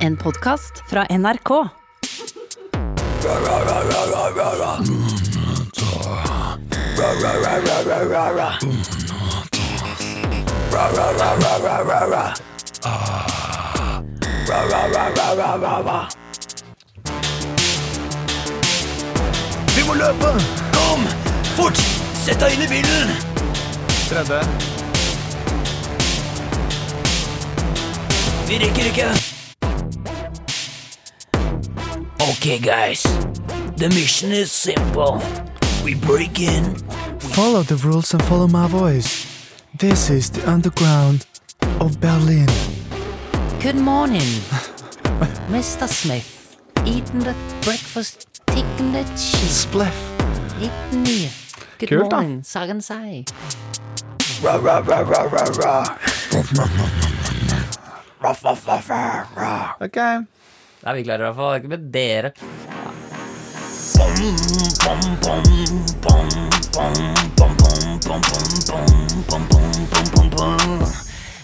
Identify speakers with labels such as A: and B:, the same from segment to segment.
A: En podkast fra NRK.
B: Vi må løpe! Kom! Fort! Sett deg inn i bilen!
C: 30.
B: Vi rekker ikke. Ok, guys. The mission is simple. We break in.
D: Follow the rules and follow my voice. This is the underground of Berlin.
A: Good morning, Mr. Smith. Eating the breakfast, taking the cheese,
D: Spleff.
A: eating the... Good
C: Kult, da.
A: morning, sagen sei.
C: Ok.
B: Nei, vi klarer i hvert fall ikke med dere.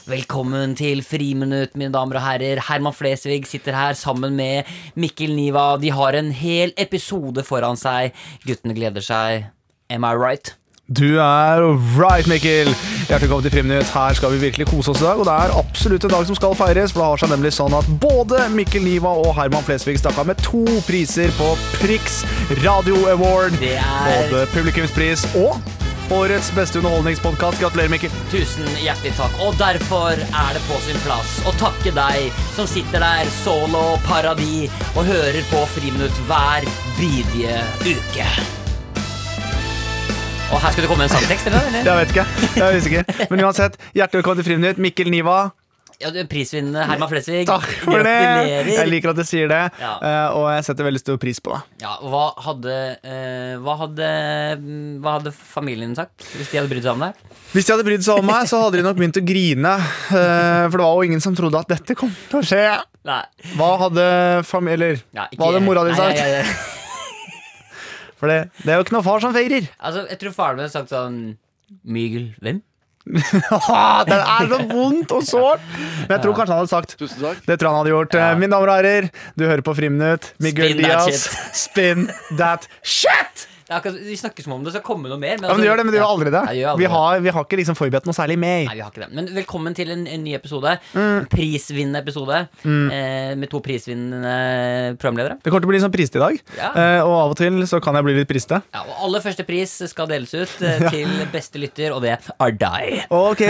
B: Velkommen til Friminutt, mine damer og herrer. Herman Flesvig sitter her sammen med Mikkel Niva. De har en hel episode foran seg. Guttene gleder seg. Am I right?
C: Du er right, Mikkel. Hjertelig velkommen til Friminutt. Her skal vi virkelig kose oss i dag, og det er absolutt en dag som skal feires. For det har seg nemlig sånn at både Mikkel Niva og Herman Flesvig stakk av med to priser på Prix Radio Award.
B: Det er-
C: Både publikumspris og årets beste underholdningspodkast. Gratulerer, Mikkel.
B: Tusen hjertelig takk. Og derfor er det på sin plass å takke deg som sitter der solo paradis og hører på Friminutt hver bidige uke. Og her skal det komme en sangtekst, eller? eller?
C: Jeg vet ikke. Jeg er usikker. Men uansett, hjertelig velkommen til Friminutt. Mikkel Niva,
B: Ja, du er Prisvinnende Herman Flesvig.
C: takk for det.
B: Gratulerer.
C: Jeg liker at du sier det,
B: Ja.
C: eh, og jeg setter veldig stor pris på det.
B: Ja, og hva hadde, eh, hva hadde mm, Hva hadde familien sagt hvis de hadde brydd seg om deg?
C: Hvis de hadde brydd seg om meg, så hadde de nok begynt å grine. eh, For det var jo ingen som trodde at dette kom til å skje.
B: Nei.
C: Hva hadde fam... Eller
B: Ja, ikke-
C: hva hadde mora
B: Nei,
C: di sagt?
B: ja, ja, ja.
C: For det, det er jo ikke noe far som feirer.
B: Altså, jeg tror faren min hadde sagt sånn Mygel, hvem?
C: det er så vondt og sårt. Men jeg tror kanskje han hadde sagt
E: Tusen takk.
C: Det tror jeg han hadde gjort. Eh, Mine damer og herrer, du hører på Friminutt. Miguel
B: Spin that
C: Diaz. Spin that shit!
B: Det er akkurat, vi snakker som om det skal komme noe mer. altså-
C: Ja, men du gjør det, men du gjør aldri det.
B: Nei, jeg gjør aldri
C: Vi har, vi har ikke liksom forberedt noe særlig
B: Nei,
C: med.
B: vi har ikke det. Men velkommen til en, en ny episode.
C: Mm.
B: En Prisvinnende episode eh, med to prisvinnende programledere.
C: Det kommer til å bli litt sånn priste i dag,
B: Ja.
C: eh, og av og til så kan jeg bli litt priste.
B: Ja, og aller første pris skal deles ut eh, til beste lytter, og det er deg.
C: Ok,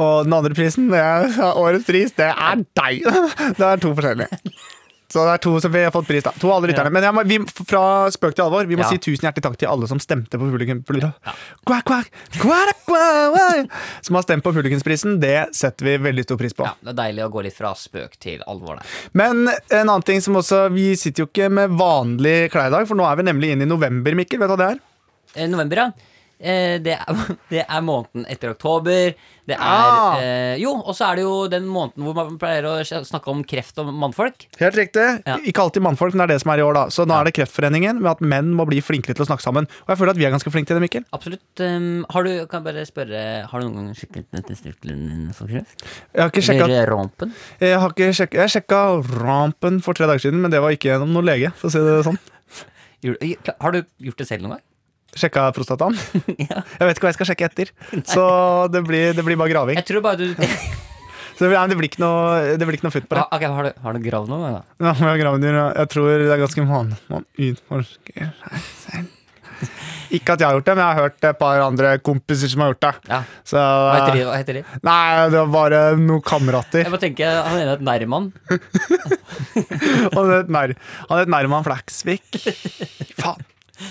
C: og den andre prisen det er, Årets pris, det er deg Det er to forskjellige Så det er to som vi har fått pris da To av alle lytterne Men jeg må, vi, fra spøk til alvor Vi må
B: Ja.
C: si tusen hjertelig takk til alle som stemte på publikum Kva, kva, kva, kva, kva, Som har stemt på publikumsprisen Det setter vi veldig stor pris på
B: Ja, det er deilig å gå litt fra spøk til alvor der.
C: Men en annen ting som også Vi sitter jo ikke med vanlig klær i dag For nå er vi nemlig inne i november, Mikkel Vet du hva det er?
B: Eh, november, ja. Eh, det, er, det er måneden etter oktober. Det er
C: Ah.
B: eh, Jo, og så er det jo den måneden hvor man pleier å snakke om kreft og mannfolk.
C: Helt riktig.
B: Ja.
C: Ikke alltid mannfolk, men det er det som er i år, da. Så nå er det Kreftforeningen med at menn må bli flinkere til å snakke sammen. Og jeg føler at vi er ganske flinke til det, Mikkel.
B: Absolutt. eh, har du, kan jeg bare spørre, har du noen gang sjekket testiklen din for kreft?
C: Jeg har ikke sjekka,
B: Eller eh, rumpen?
C: jeg har ikke sjekka, jeg sjekka rampen for tre dager siden, men det var ikke gjennom noen lege, for å si det sånn.
B: Gjorde- Har du gjort det selv noen gang?
C: Sjekka prostataen.
B: Ja.
C: Jeg vet ikke hva jeg skal sjekke etter. Så det blir, det blir bare graving.
B: Jeg tror bare du
C: Så det blir, nei, det blir ikke noe, det blir ikke noe futt på det.
B: Ah, ok, Har du, har du gravd noe? Da?
C: Nå må jeg grave dyr, ja. Jeg tror det er ganske vanlig at man utforsker seg selv. Ikke at jeg har gjort det, men jeg har hørt et par andre kompiser som har gjort det.
B: Ja.
C: Så,
B: Hva heter de? Hva heter de?
C: Nei, det var bare noen kamerater.
B: Jeg bare tenker, Han ene het Nærmann.
C: Han het Nær- han het Nærman Flaksvik. Faen.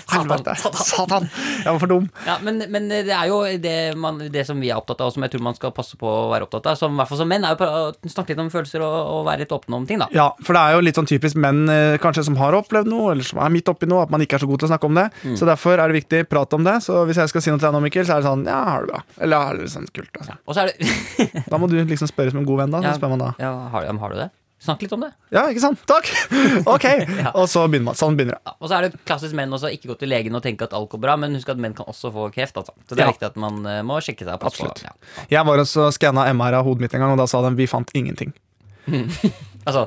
C: Helvete.
B: Satan,
C: Satan. Jeg var for dum.
B: Ja, men, men det er jo det, man, det som vi er opptatt av, og som jeg tror man skal passe på å være opptatt av, som i hvert fall som menn, er jo på- å snakke litt om følelser og, og være litt åpne om ting, da.
C: Ja, for det er jo litt sånn typisk menn eh, kanskje som har opplevd noe, eller som er midt oppi noe, at man ikke er så god til å snakke om det.
B: Mm.
C: Så derfor er det viktig å prate om det. Så hvis jeg skal si noe til deg nå, Mikkel, så er det sånn Ja, har det bra. Eller ja, det er liksom kult. Altså.
B: Og så er det
C: Da må du liksom spørre som en god venn, da.
B: Ja.
C: Så spør man da.
B: ja, har, ja, men har du det? Snakk litt om det.
C: Ja, ikke sant? Takk! Ok. Og så begynner man. Sånn begynner det.
B: Ja, og så er det klassisk menn også ikke gå til legen og tenke at alt går bra, men husk at menn kan også få kreft. Altså. Så det er
C: Ja.
B: viktig at man eh, må sjekke seg. og passe på,
C: Absolutt.
B: Ja.
C: Jeg var og skanna MR av hodet mitt en gang, og da sa de vi fant ingenting.
B: Altså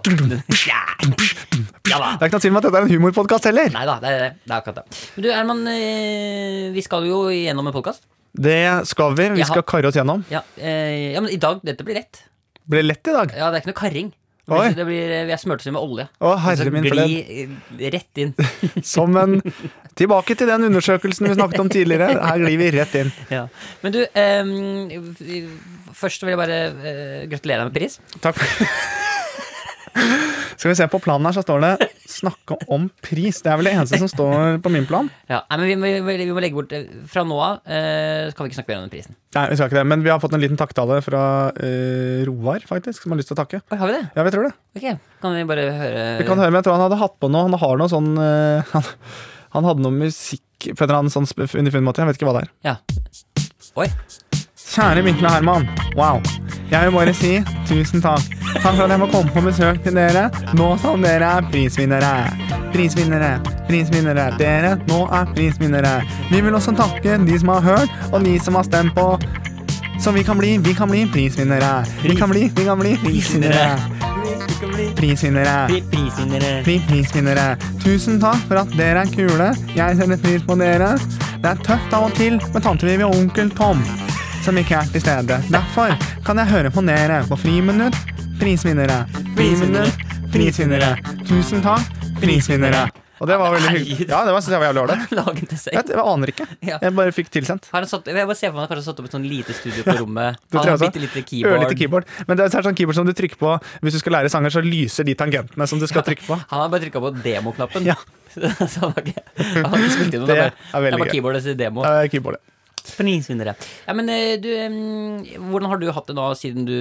B: Ja, ja da.
C: Det er ikke noe tvil om at dette er en humorpodkast heller.
B: Nei da, det er det. Det er akkurat det. Men du, Herman, eh, vi skal jo gjennom en podkast.
C: Det skal vi. Vi
B: Jeg har-
C: skal karre oss gjennom.
B: Ja, eh, ja, men i dag Dette blir lett.
C: Ble lett i dag.
B: Ja, det er ikke noe karring. Det
C: Oi.
B: blir, det blir, eh, vi er smurt sammen med olje.
C: Å, herre
B: Så
C: min
B: Altså, Gli eh, rett inn.
C: Som en Tilbake til den undersøkelsen vi snakket om tidligere. Her glir vi rett inn.
B: Ja. Men du, eh, først vil jeg bare eh, gratulere deg med pris.
C: Takk. Skal vi se på planen her, så står det 'snakke om pris'. Det er vel det eneste som står på min plan.
B: Ja, nei, men vi, må- vi, vi må legge bort eh, Fra nå av eh, kan vi ikke snakke mer om den prisen.
C: Nei, vi skal ikke det, men vi har fått en liten takktale fra eh, Roar, faktisk, som har lyst til å takke.
B: Oi, har vi det?
C: Ja, vi tror det.
B: Ok, Kan vi bare høre
C: Vi kan høre, men jeg tror han hadde hatt på noe. Han har noe sånn eh, han, han hadde noe musikk på en eller annen sånn sp- underfunnet måte. Jeg vet ikke hva det er.
B: Ja. Oi.
C: Kjære Mikkel og Herman. Wow. Jeg vil bare si tusen takk. Takk for at jeg må komme på besøk til dere. Nå som dere er prisvinnere. Prisvinnere, prisvinnere. Dere nå er prisvinnere. Vi vil også takke de som har hørt, og de som har stemt på. Så vi kan bli, vi kan bli prisvinnere. Vi kan bli, vi kan bli prisvinnere. Prisvinnere.
B: Prisvinnere.
C: Bli prisvinnere. Tusen takk for at dere er kule. Jeg setter pris på dere. Det er tøft av og til med tante Vivi og onkel Tom, som ikke er til stede. Derfor kan jeg høre på dere på friminutt. Prisvinnere. Friminutt. Prisvinnere. Tusen takk. Prisvinnere. Og det var veldig hyggelig. Ja, det var, synes jeg var jævlig ålreit.
B: Lag en dessert.
C: Jeg vet- jeg aner ikke.
B: Ja.
C: Jeg bare fikk tilsendt.
B: Har han satt, jeg bare ser for meg at han kanskje har satt opp et sånn lite studio på rommet. Han
C: Det
B: har
C: tror jeg
B: bitte lite keyboard.
C: Ørlite keyboard. Men det er et sånt keyboard som du trykker på hvis du skal lære sanger, så lyser de tangentene som du skal trykke på.
B: Han har bare trykka på demoknappen.
C: Ja.
B: så han har ikke, han har ikke spilt inn noe.
C: Det
B: Det er
C: er
B: bare, det er
C: veldig gøy.
B: bare keyboardet sitt demo.
C: Det er keyboardet.
B: Prisvinnere. Ja, men eh, du, eh, hvordan har du hatt det nå siden du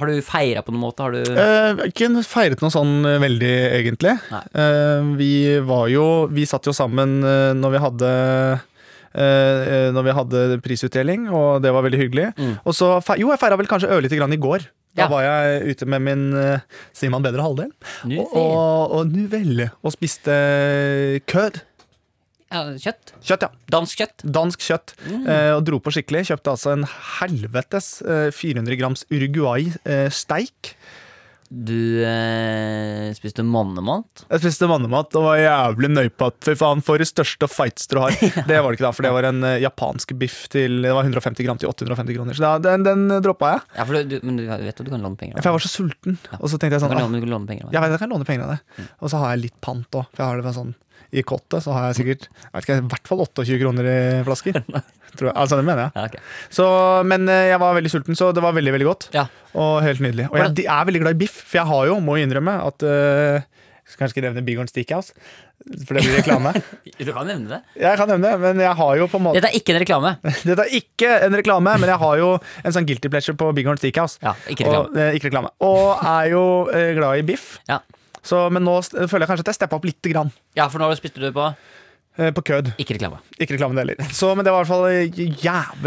B: Har du feira på noen måte? Har du
C: Eh, ikke feiret noe sånn eh, veldig, egentlig.
B: Nei.
C: Eh, vi var jo Vi satt jo sammen eh, når vi hadde eh, når vi hadde prisutdeling, og det var veldig hyggelig. Og så, fe- Jo, jeg feira vel kanskje ørlite grann i går. Da
B: Mm. Ja.
C: var jeg ute med min eh, sier man bedre halvdel.
B: Nu
C: Og,
B: vel.
C: og, og nu vel. Og spiste kød.
B: ja, kjøtt?
C: Kjøtt, ja.
B: Dansk kjøtt?
C: Dansk kjøtt.
B: Mm.
C: eh, og dro på skikkelig. Kjøpte altså en helvetes eh, 400 grams eh, Uruguay-steik.
B: Du eh, spiste mannemat?
C: Jeg spiste mannemat og var jævlig nøypatt. Fy faen, for det største fights du har. Det var det ikke da, for det var en eh, japansk biff til Det var 150 gram til 850 kroner. Så da, den, den droppa jeg.
B: Ja, for du, du, men du vet at du kan låne penger? av
C: For
B: meg.
C: jeg var så sulten. Og så tenkte jeg
B: Du
C: sånn
B: kan
C: ah,
B: låne, Mm. du kan låne penger av meg.
C: Jeg vet jeg kan låne penger av det. Og så har jeg litt pant òg. For jeg har det med sånn i kottet så har jeg sikkert jeg vet ikke, i hvert fall 28 kroner i flasker. Tror jeg. Altså, det mener jeg.
B: Ja, ok.
C: Så, men eh, jeg var veldig sulten, så det var veldig veldig godt.
B: Ja.
C: Og helt nydelig. Og jeg de er veldig glad i biff, for jeg har jo, må innrømme, at eh, jeg skal Kanskje ikke nevne Bigorn Steakhouse, for det blir reklame.
B: Du kan nevne det.
C: Jeg kan nevne det, men jeg har jo på en måte
B: Dette er ikke en reklame.
C: Dette er ikke en reklame, men jeg har jo en sånn guilty pleasure på Big Horn Steakhouse.
B: Ja, ikke reklame.
C: Og, eh, ikke reklame. Og er jo eh, glad i biff.
B: Ja.
C: Så, men nå st- føler jeg kanskje at jeg steppa opp lite grann
B: ja, for nå spiste du på
C: eh, på kødd.
B: ikke reklame.
C: Ikke reklame det heller. Så, men det var i hvert fall eh,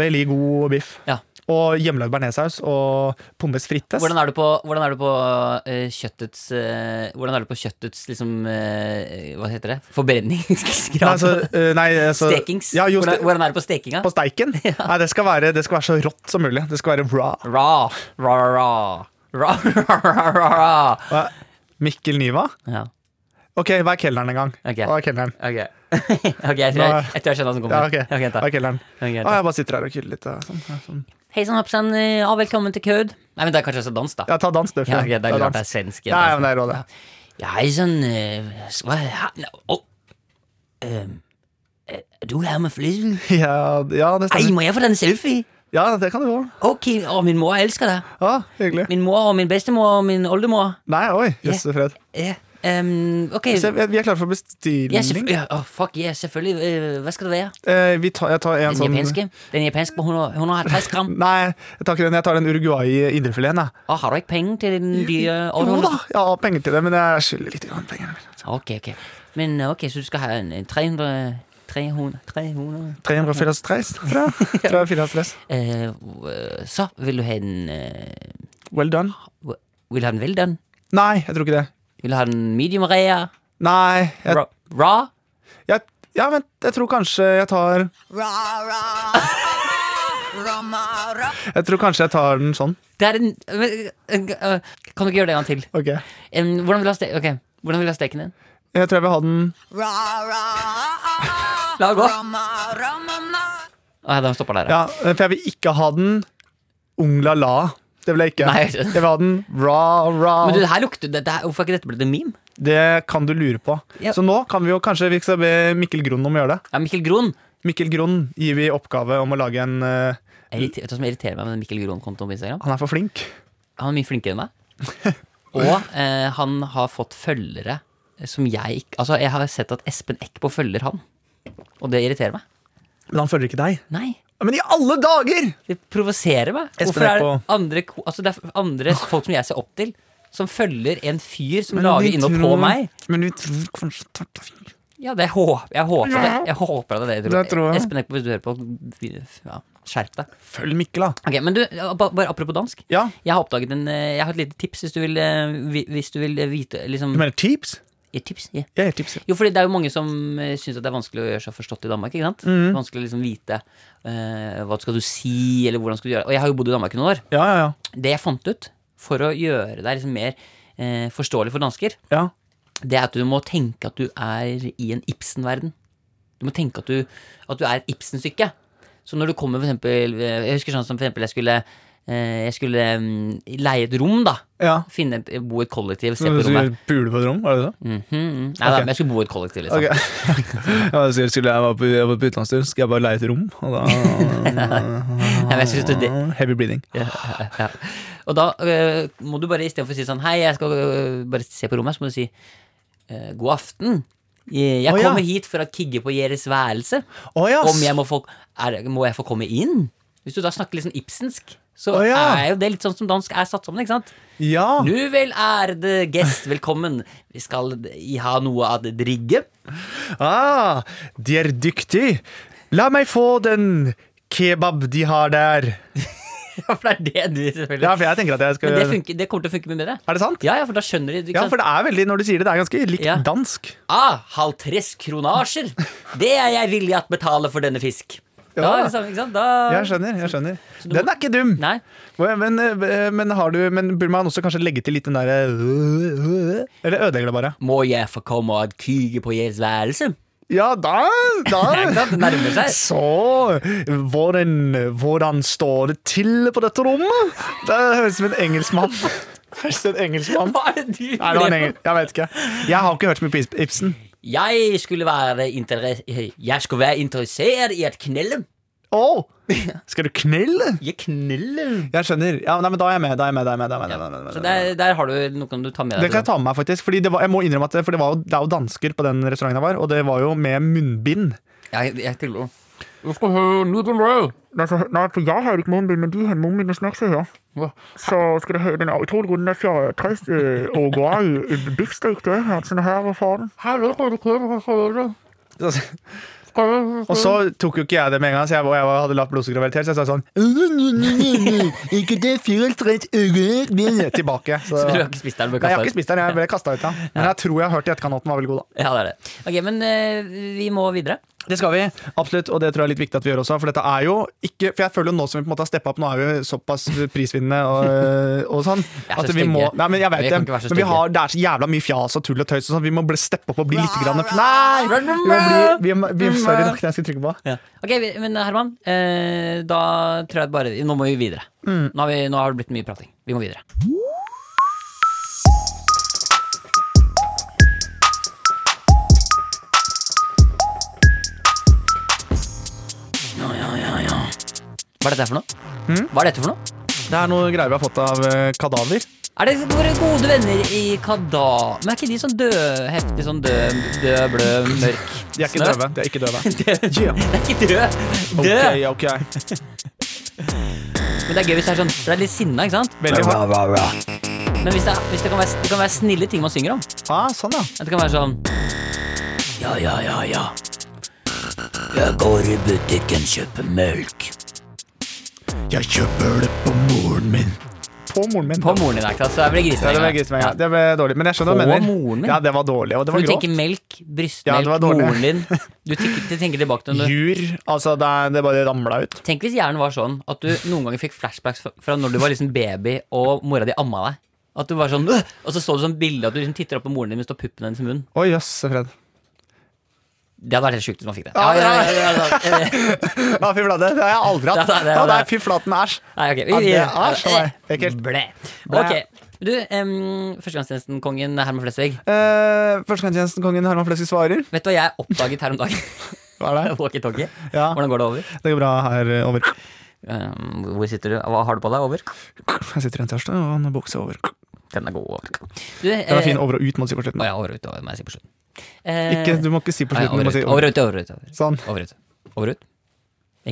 C: jævlig god biff.
B: Ja.
C: Og hjemmelagd bearnéssaus og pommes frites.
B: Hvordan er du på, hvordan er du på eh, kjøttets eh, Hvordan er du på kjøttets liksom eh, Hva heter det?
C: Nei,
B: Forbrenningsgrad?
C: altså, eh, nei, altså
B: Stekings?
C: Ja, jo, ste
B: hvordan, hvordan er du på stekinga?
C: på steiken. Nei, det skal, være, det skal være så rått som mulig. Det skal være raw.
B: Ra, ra, ra, ra, ra, ra, ra, ra.
C: Og Mikkel Niva?
B: Ja,
C: Ok, vær kelneren en gang.
B: Ok.
C: Hva er kelneren?
B: ok. ok, jeg tror jeg, jeg, tror jeg skjønner hva som kommer.
C: Ja, ok.
B: Ok, vent da.
C: Hva er kelneren?
B: Ok, vent
C: Å,
B: da.
C: jeg bare sitter her og kuler litt. ja, Sånn, ja, sånn.
B: Hei sann, Hapsan, og velkommen til Kød. Nei, men det er kanskje også dans, da.
C: Ja, ta dans, du.
B: Ja, ok, det
C: Ta
B: er klart
C: dans.
B: det er svensk.
C: Ja, ja, men det er rådet.
B: altså. Ja, hei sann, eh, skal jeg ha Nå, å, ehm, eh, Er du her med flyet?
C: Ja, ja, det
B: Nei,
C: stemmer.
B: må jeg få den selfie?
C: Ja, det kan du få.
B: Ok, å, min mor elsker deg.
C: Ja, hyggelig.
B: Min mor og min bestemor og min oldemor.
C: Nei, oi. Jøss, fred.
B: Ja, ehm, ok.
C: Se, vi er- vi er klare for
B: Ja, selvfø-
C: bestilling.
B: ja, å, fuck yeah, selvfølgelig. Eh, hva skal det være?
C: Eh, vi tar, jeg tar en
B: Den
C: sånn
B: japanske? Den japanske på 100, 150 gram?
C: Nei, jeg tar ikke den. Jeg tar den Uruguay indrefileten. jeg.
B: Å, har du ikke penger til den dyre
C: Jo da,
B: 800?
C: jeg har penger til det, men jeg skylder litt grann penger.
B: Ok, ok. Ah, Men eh, ok, så du skal ha en en 300 300, 300.
C: 334, tror jeg. 334.
B: Eh, eh, Så vil du ha en eh,
C: Well done.
B: Vil du ha den well done?
C: Nei, jeg tror ikke det.
B: Vil du ha den medium rare?
C: Nei, jeg,
B: Ra- Raw?
C: jeg, ja, vent, jeg tror kanskje jeg tar
E: Ra, ra, ra,
C: Jeg tror kanskje jeg tar den sånn.
B: Det er øh, en, en, en Kan du ikke gjøre det en gang til?
C: Ok
B: En, hvordan, vil du ha ste ok, hvordan vil du ha steken din?
C: Jeg tror jeg vil ha den
B: La det gå. Nei, den stopper der.
C: Ja, for jeg vil ikke ha den Ungla la. Det vil jeg ikke.
B: Nei.
C: Jeg vil ha den ra ra.
B: Men du, det her lukter det, det her, Hvorfor er ikke dette blitt en meme?
C: Det kan du lure på.
B: Ja.
C: Så nå kan vi jo kanskje vi skal be Mikkel Grunn om å gjøre det.
B: Ja, Mikkel Gron.
C: Mikkel Grunn gir vi oppgave om å lage en eh,
B: Jeg irriter- Vet du hva som irriterer meg med den Mikkel Gron-kontoen på Instagram?
C: Han er for flink.
B: Han er mye flinkere enn meg. Og eh, han har fått følgere som jeg ikke Altså, jeg har sett at Espen Eckbo følger han. Og det irriterer meg.
C: Men han følger ikke deg.
B: Nei.
C: Men i alle dager!
B: Det provoserer meg.
C: Espen
B: Hvorfor er det
C: Eckbo.
B: andre, ko- altså, det er andre folk som jeg ser opp til, som følger en fyr som
C: Men vi
B: lager innhold på
C: tror-
B: meg?
C: Men vi tror kanskje Tartafink
B: Ja, det håper jeg. Håper det. Jeg håper det, er det,
C: Det tror jeg.
B: Espen Eckbo, hvis du hører på, ja, skjerp deg.
C: Følg Mikkel, da.
B: Ok, Men du, ba- bare apropos dansk.
C: Ja.
B: Jeg har oppdaget en, eh, jeg har et lite tips hvis du vil, eh, vi- hvis du vil eh, vite liksom,
C: Du mener tips?
B: Ja, Tips? ja.
C: Jeg gir tips. ja.
B: Jo, fordi det er jo mange som eh, syns at det er vanskelig å gjøre seg forstått i Danmark. ikke sant?
C: Mhm.
B: Vanskelig å liksom vite eh, hva skal du si, eller hvordan skal du gjøre det. Og jeg har jo bodd i Danmark i noen år.
C: Ja, ja, ja.
B: Det jeg fant ut for å gjøre deg liksom mer eh, forståelig for dansker,
C: ja.
B: det er at du må tenke at du er i en Ibsen-verden. Du må tenke at du, at du er et Ibsen-stykke. Så når du kommer for eksempel, eh, Jeg husker sånn som for eksempel jeg skulle, eh, jeg skulle mm, leie et rom, da.
C: ja.
B: Finne, et- bo i et kollektiv, se
C: Så
B: på
C: du
B: rommet.
C: skulle pule på et rom? Var det sånn? det?
B: Mhm, mm. Nei da,
C: Ok.
B: men jeg skulle bo i et kollektiv, liksom.
C: Ok. ja, jeg skulle- skulle jeg var på, jeg var på utenlandstur, skal jeg bare leie et rom? Og
B: Nei, men jeg skulle
C: da
B: studere
C: Heavy bleeding.
B: ja, ja, ja. Og da eh, må du bare istedenfor å si sånn Hei, jeg skal eh, bare se på rommet, så må du si eh, god aften. Jeg jeg
C: Å, ja.
B: kommer hit for å kigge på Deres værelse.
C: Å ja!
B: Om jeg må få, er, må jeg få komme inn? Hvis du da snakker litt sånn ibsensk, så
C: Å, ja.
B: er jo det litt sånn som dansk er satt sammen, ikke sant?
C: ja.
B: Nu vel ærede gest, velkommen. Vi skal i ha noe å drigge.
C: Ah, de er dyktige. La meg få den kebab de har der.
B: Ja, for det er det du selvfølgelig
C: Ja, for jeg tenker at jeg skal
B: Men det, funker, det kommer til å funke mye bedre.
C: Er det sant?
B: Ja, ja, for da skjønner de ikke
C: Ja,
B: sant?
C: for det er veldig, når du sier det, det er ganske likt
B: Ja.
C: dansk.
B: Ah, halvtress kronasjer! Det er jeg villig at betale for denne fisk. Da,
C: Ja.
B: liksom, ikke sant? Da...
C: Jeg skjønner. jeg skjønner
B: du
C: Den
B: må-
C: er ikke dum!
B: Nei.
C: Men, eh, men, har du, men burde man også kanskje legge til litt den derre Eller ødelegger det bare?
B: Må jeg få komme og kyge på Jeres værelse?
C: Ja, da,
B: Nei, ikke
C: da.
B: sant? Det nærmer seg.
C: Så hvordan, hvordan står det til på dette rommet? Det høres ut som en engelskmann. Høres ut som en engelskmann.
B: Hva er det du
C: Nei, det var en
B: drev med?
C: engel. Jeg vet ikke. Jeg har ikke hørt så mye på Ibs- Ibsen.
B: Jeg skulle være interes... Jeg skulle være interessert i et knelle.
C: Åh, Skal du knelle?
B: Jeg kneller.
C: Jeg skjønner. Ja, nei, men da er jeg med. Da er jeg med, da er jeg med, da er jeg med, da er jeg med, da
B: Så
C: er jeg med.
B: der, der har du noe du tar med
C: Det
B: deg.
C: kan jeg ta med meg, faktisk. Fordi det var, jeg må innrømme at det, for det, var jo, det er jo dansker på den restauranten jeg var, og det var jo med munnbind.
B: Jeg, jeg tilgår.
E: Altså, Nei, så, nej, for jeg havde ikke mundbind, men de havde mundbind og snakkede her. Så skal du have den er utrolig god, den der fra 60 øh, Uruguay øh, beefsteak, der her, sådan her, hvorfor den?
C: Så- Og så tok jo ikke jeg det med en gang, så jeg, og jeg var- hadde lavt blodsukkervalitet, så jeg sa sånn Ikke det fylt rett øye Tilbake. Så,
B: Du har
C: nei,
B: ikke spist den med
C: jeg har
B: kaffe?
C: ikke spist den, jeg ble kasta ut, ja. Men jeg tror jeg har hørt i etterkant at den var veldig god, da.
B: Ja, det er det. Ok, men eh, vi må videre.
C: Det skal vi, absolutt, og det tror jeg er litt viktig at vi gjør også. For dette er jo ikke For jeg føler jo nå som vi på en måte har steppa opp, nå er vi jo såpass prisvinnende og, og sånn.
B: er så
C: At vi
B: stygge.
C: må Nei, men jeg
B: Vi
C: vet
B: kan
C: det.
B: ikke være så
C: Men vi
B: stygge.
C: har, det er så jævla mye fjas og tull og tøys og sånn. Vi må bli- steppe opp og bli litt grann Nei! Vi må bli, vi må, vi, sorry, det var ikke det jeg skulle trykke på.
B: Ok, vi- Men Herman, eh, da tror jeg bare Nå må vi videre. Nå, har vi, nå har det blitt mye prating. Vi må videre. Ja, ja, ja, ja. Hva er dette her for noe? Hva er dette for noe?
C: Det er noe greier vi har fått av eh, kadaver.
B: Er det våre gode venner i Kada... Men er ikke de sånn døde, heftig sånn død, død blø, mørk
C: De er ikke
B: snø?
C: døve. De er ikke døve.
B: Død.
C: Yeah.
B: Det er ikke død. Død.
C: Ok, ok.
B: Men det er gøy hvis det er sånn Det er litt sinna, ikke sant?
C: Veldig hardt.
B: Men hvis det, er- hvis det, kan, være, det kan være snille ting man synger om.
C: Ah, sånn, ja.
B: At det kan være sånn Ja, ja, ja, ja. Jeg går i butikken, kjøper melk.
C: Jeg kjøper det på moren min. på moren min.
B: På moren din, ikke sant? Så det ble
C: Ja, det ble
B: grisene.
C: grismenga. Det ble dårlig. Men jeg skjønner hva
B: På
C: du mener.
B: moren min?
C: Ja, det var dårlig, og det
B: Du
C: var
B: tenker
C: grovt.
B: melk,
C: Ja, det var
B: brystmelk,
C: dårlig.
B: moren din. Du tenker, du tenker tilbake til når du
C: Jur. Altså, det, er- det bare ramla ut.
B: Tenk hvis hjernen var sånn at du noen ganger fikk flashbacks fra- fra når du var liksom baby og mora di amma deg. At du var sånn, «Åh!» Og så så du sånn bilde at du liksom titter opp på moren din mens du har puppen hennes i munnen.
C: Å, jøss, Fred.
B: Det hadde vært helt sjukt hvis man fikk det.
C: Ja,
B: Ja,
C: det
B: ja,
C: er-
B: ja, ja, ja, ja.
C: Ja, fy flate. Det har jeg aldri hatt.
B: Ja, det er- det er-
C: Ja, det er fy flaten æsj.
B: Nei, ok.
C: Ja, det er så meg. Ekkelt.
B: Blæ.
C: Blæ.
B: Ok. Du, um, førstegangstjenesten-kongen Herman Flesvig.
C: Eh, Førstegangstjenesten kongen Herman Flesvig svarer.
B: Vet du hva jeg oppdaget her om dagen?
C: Hva er det?
B: Walkietalkie.
C: Ja,
B: Hvordan går det over?
C: det går bra her eh, over.
B: Um, hvor sitter du? Hva har du på deg? Over?
C: Jeg sitter i en T-skjorte og en bukse over.
B: Den er god. Over. Du, eh,
C: Den er fin over og ut, må du si på
B: Å
C: slutten.
B: ja, over og ut, over, må jeg si på slutten. Eh,
C: Ikke, du må ikke si på
B: nei,
C: slutten. Du må si
B: over og ut, over og ut. Over og ut.
C: Sånn.
B: Over og ut. Over og ut.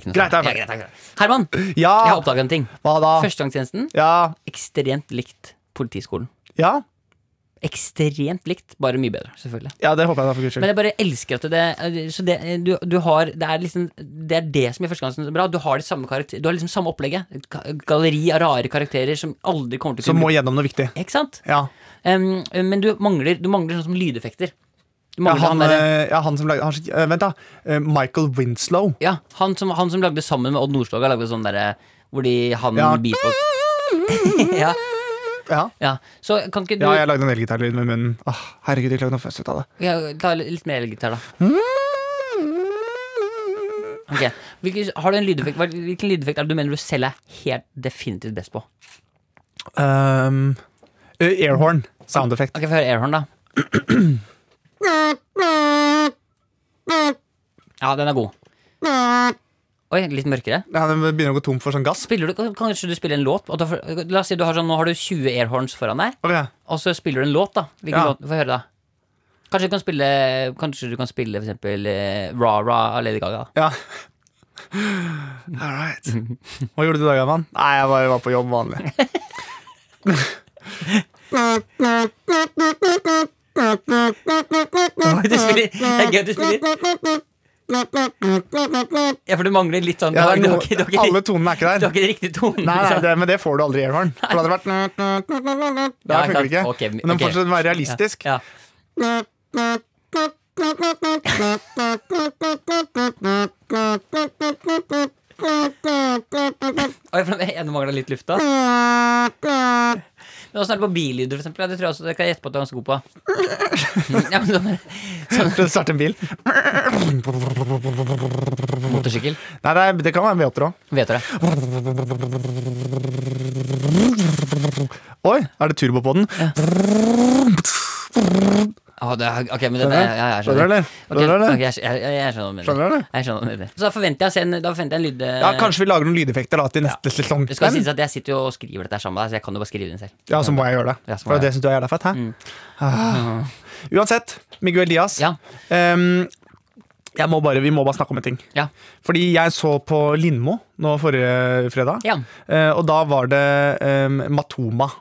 B: Ikke noe
C: Greit, Ah.
B: sånn.
C: det er
B: Ja, greit, greit. Herman, jeg har
C: Ja,
B: oppdaget en ting.
C: hva da?
B: Førstegangstjenesten,
C: Ja,
B: ekstremt likt politiskolen.
C: ja.
B: Ekstremt likt, bare mye bedre, selvfølgelig.
C: Ja, det håper jeg da, for guds
B: Men
C: skyld.
B: jeg bare elsker at det Så det, du, du har Det er liksom Det er det som gjør førstegangstjenesten så bra. Du har det samme karakter, Du har liksom samme opplegget. Et ga- Galleri av rare karakterer som aldri kommer til å
C: Som
B: kunne
C: må gjennom noe viktig.
B: Ikke sant?
C: Ja.
B: Em, men du mangler Du mangler sånn som lydeffekter. Du
C: Ja,
B: mangler
C: han,
B: han, derre
C: eh, ja, han som lagde han, eh, Vent, da. Eh, Michael Winslow.
B: Ja, han som, han som lagde sammen med Odd Nordstoga, lagde sånn derre hvor de han
C: Ja.
B: beatbox ja,
C: Ja,
B: ja. Så kan ikke du
C: ja jeg lagde en elgitarlyd med munnen. Åh, herregud, jeg klarte noe fest ut av det.
B: Ja, ta litt mer elgitar, da. Ok, Hvilken, har du en lydeffekt, hva- hvilken lydeffekt er det du mener du selv er helt definitivt best på?
C: Um, eh, airhorn. Sound effect.
B: Ok, Få høre airhorn, da. Ja, den er god. Oi, litt mørkere.
C: Ja, den begynner å gå tom for sånn gass.
B: Spiller du, kan- kanskje du spiller en låt? Og da, får- la oss si du har sånn, Nå har du 20 airhorns foran deg,
C: Ok,
B: og så spiller du en låt. da Hvilken
C: Ja.
B: låt? Få høre, da. Kanskje du kan spille Kanskje du kan spille for eksempel eh, Ra Ra av Lady Gaga. da.
C: ja. All right. Hva gjorde du i dag, mann? Nei, jeg bare var på jobb vanlig.
B: Oi, Du spiller, det er gøy at du spiller. Ja, for du mangler litt sånn Du
C: Ja,
B: har
C: det
B: du
C: er
B: har
C: noe,
B: ikke du har ikke
C: alle
B: riktig-
C: tonene er ikke
B: du
C: der.
B: har ikke riktig tone.
C: Nei, nei
B: liksom.
C: det, men det får du aldri i airhorn. For det hadde vært Det
B: Ja,
C: her funker
B: ikke
C: ikke.
B: sant. Ok,
C: Men den må
B: ok.
C: fortsatt være realistisk.
B: Ja. Oi, for den ene mangler litt luft, da. Men åssen er det på billyder, for eksempel? Ja, Det tror jeg også jeg kan gjette på at du er ganske god på. Ja, men sånn
C: For å starte en bil.
B: Motorsykkel.
C: Nei, det, er- det kan være en V8 òg.
B: Vet du det?
C: Oi, er det turbo på den?
B: Å, det er, ok, men det, ja, ja, jeg skjønner.
C: Skjønner du, eller?
B: Ok,
C: Skjønner du, eller?
B: ok, jeg, skj- jeg, jeg, jeg skjønner hva du mener.
C: Skjønner du, eller?
B: Jeg skjønner hva du mener. Så da forventer jeg å se en, da forventer jeg en lyd...
C: Ja, Kanskje vi lager noen lydeffekter da til neste sesong.
B: Det eh, skal sånn?
C: Men-
B: sies at jeg sitter jo og skriver dette her sammen med deg, så jeg kan jo bare skrive det inn selv.
C: Ja, så må jeg gjøre det.
B: Ja, så må jeg.
C: For
B: Mm.
C: det syns du er jævla fett, hæ? Ah. Uansett, Miguel Diaz.
B: Ja.
C: Ehm, jeg må bare, vi må bare snakke om en ting.
B: Ja.
C: Fordi jeg så på Lindmo nå forrige fredag,
B: Ja.
C: eh, og da var det ehm, Matoma.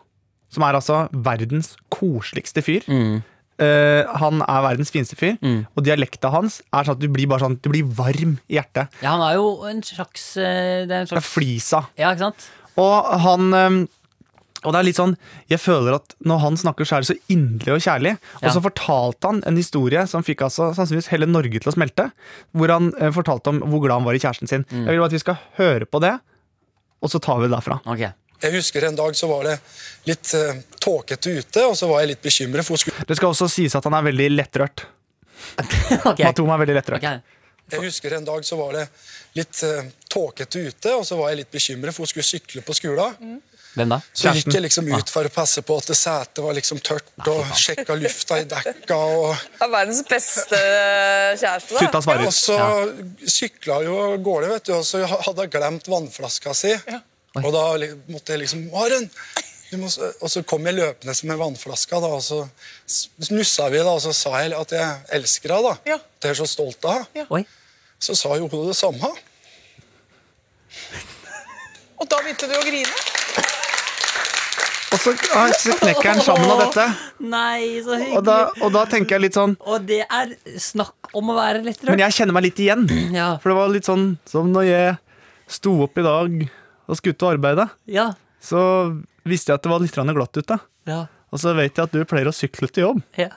C: Som er altså verdens koseligste fyr.
B: Mm.
C: Eh, han er verdens fineste fyr,
B: Mm.
C: og dialekta hans er sånn at du blir bare sånn Du blir varm i hjertet.
B: ja, han er jo en slags eh, Det er en
C: Det er
B: slags
C: flisa.
B: Ja, ikke sant?
C: Og han ehm, Og det er litt sånn Jeg føler at når han snakker, så er det så inderlig og kjærlig. Og
B: Ja.
C: så fortalte han en historie som fikk altså sannsynligvis hele Norge til å smelte. Hvor han eh, fortalte om hvor glad han var i kjæresten sin.
B: Mm.
C: Jeg vil bare at vi skal høre på det, og så tar vi det derfra.
B: Ok.
F: Jeg husker en dag så var det litt eh, tåkete ute, og så var jeg litt bekymret for hun skulle
C: Det skal også sies at han er veldig lettrørt.
B: Ok.
C: Matoma er veldig
B: Ok.
C: lettrørt.
F: Jeg husker en dag så var det litt eh, tåkete ute, og så var jeg litt bekymret for hun skulle sykle på skolen.
B: Hvem da?
F: Så
C: Kjæresten.
F: gikk jeg liksom ut for å passe på at det setet var liksom tørt, og sjekka lufta i dekka, og,
G: Det er verdens beste eh, kjæreste, da.
C: Tutta svarer.
F: og så sykla jeg jo av gårde, vet du, og så hadde jeg glemt vannflaska si. Og da li- måtte jeg liksom Maren! Du må, s- og så kom jeg løpende med vannflaska, da, og så snussa vi, da, og så sa jeg at jeg elsker henne. da.
G: Ja.
F: Det er jeg så stolt av.
B: Oi.
F: Så sa jo hun det samme.
G: Og da begynte du å grine.
C: Og så, ah, så knekker han sammen av dette.
B: Nei, så hyggelig.
C: Og da, og da tenker jeg litt sånn
B: Og det er snakk om å være
C: Men
B: lettrørt.
C: jeg kjenner meg litt igjen.
B: Ja.
C: For det var litt sånn som når jeg sto opp i dag og skulle ut og arbeide.
B: ja.
C: Så
D: visste jeg at det var litt grann glatt ute.
B: Ja.
D: Og så vet jeg at du pleier å sykle til jobb.
B: Ja.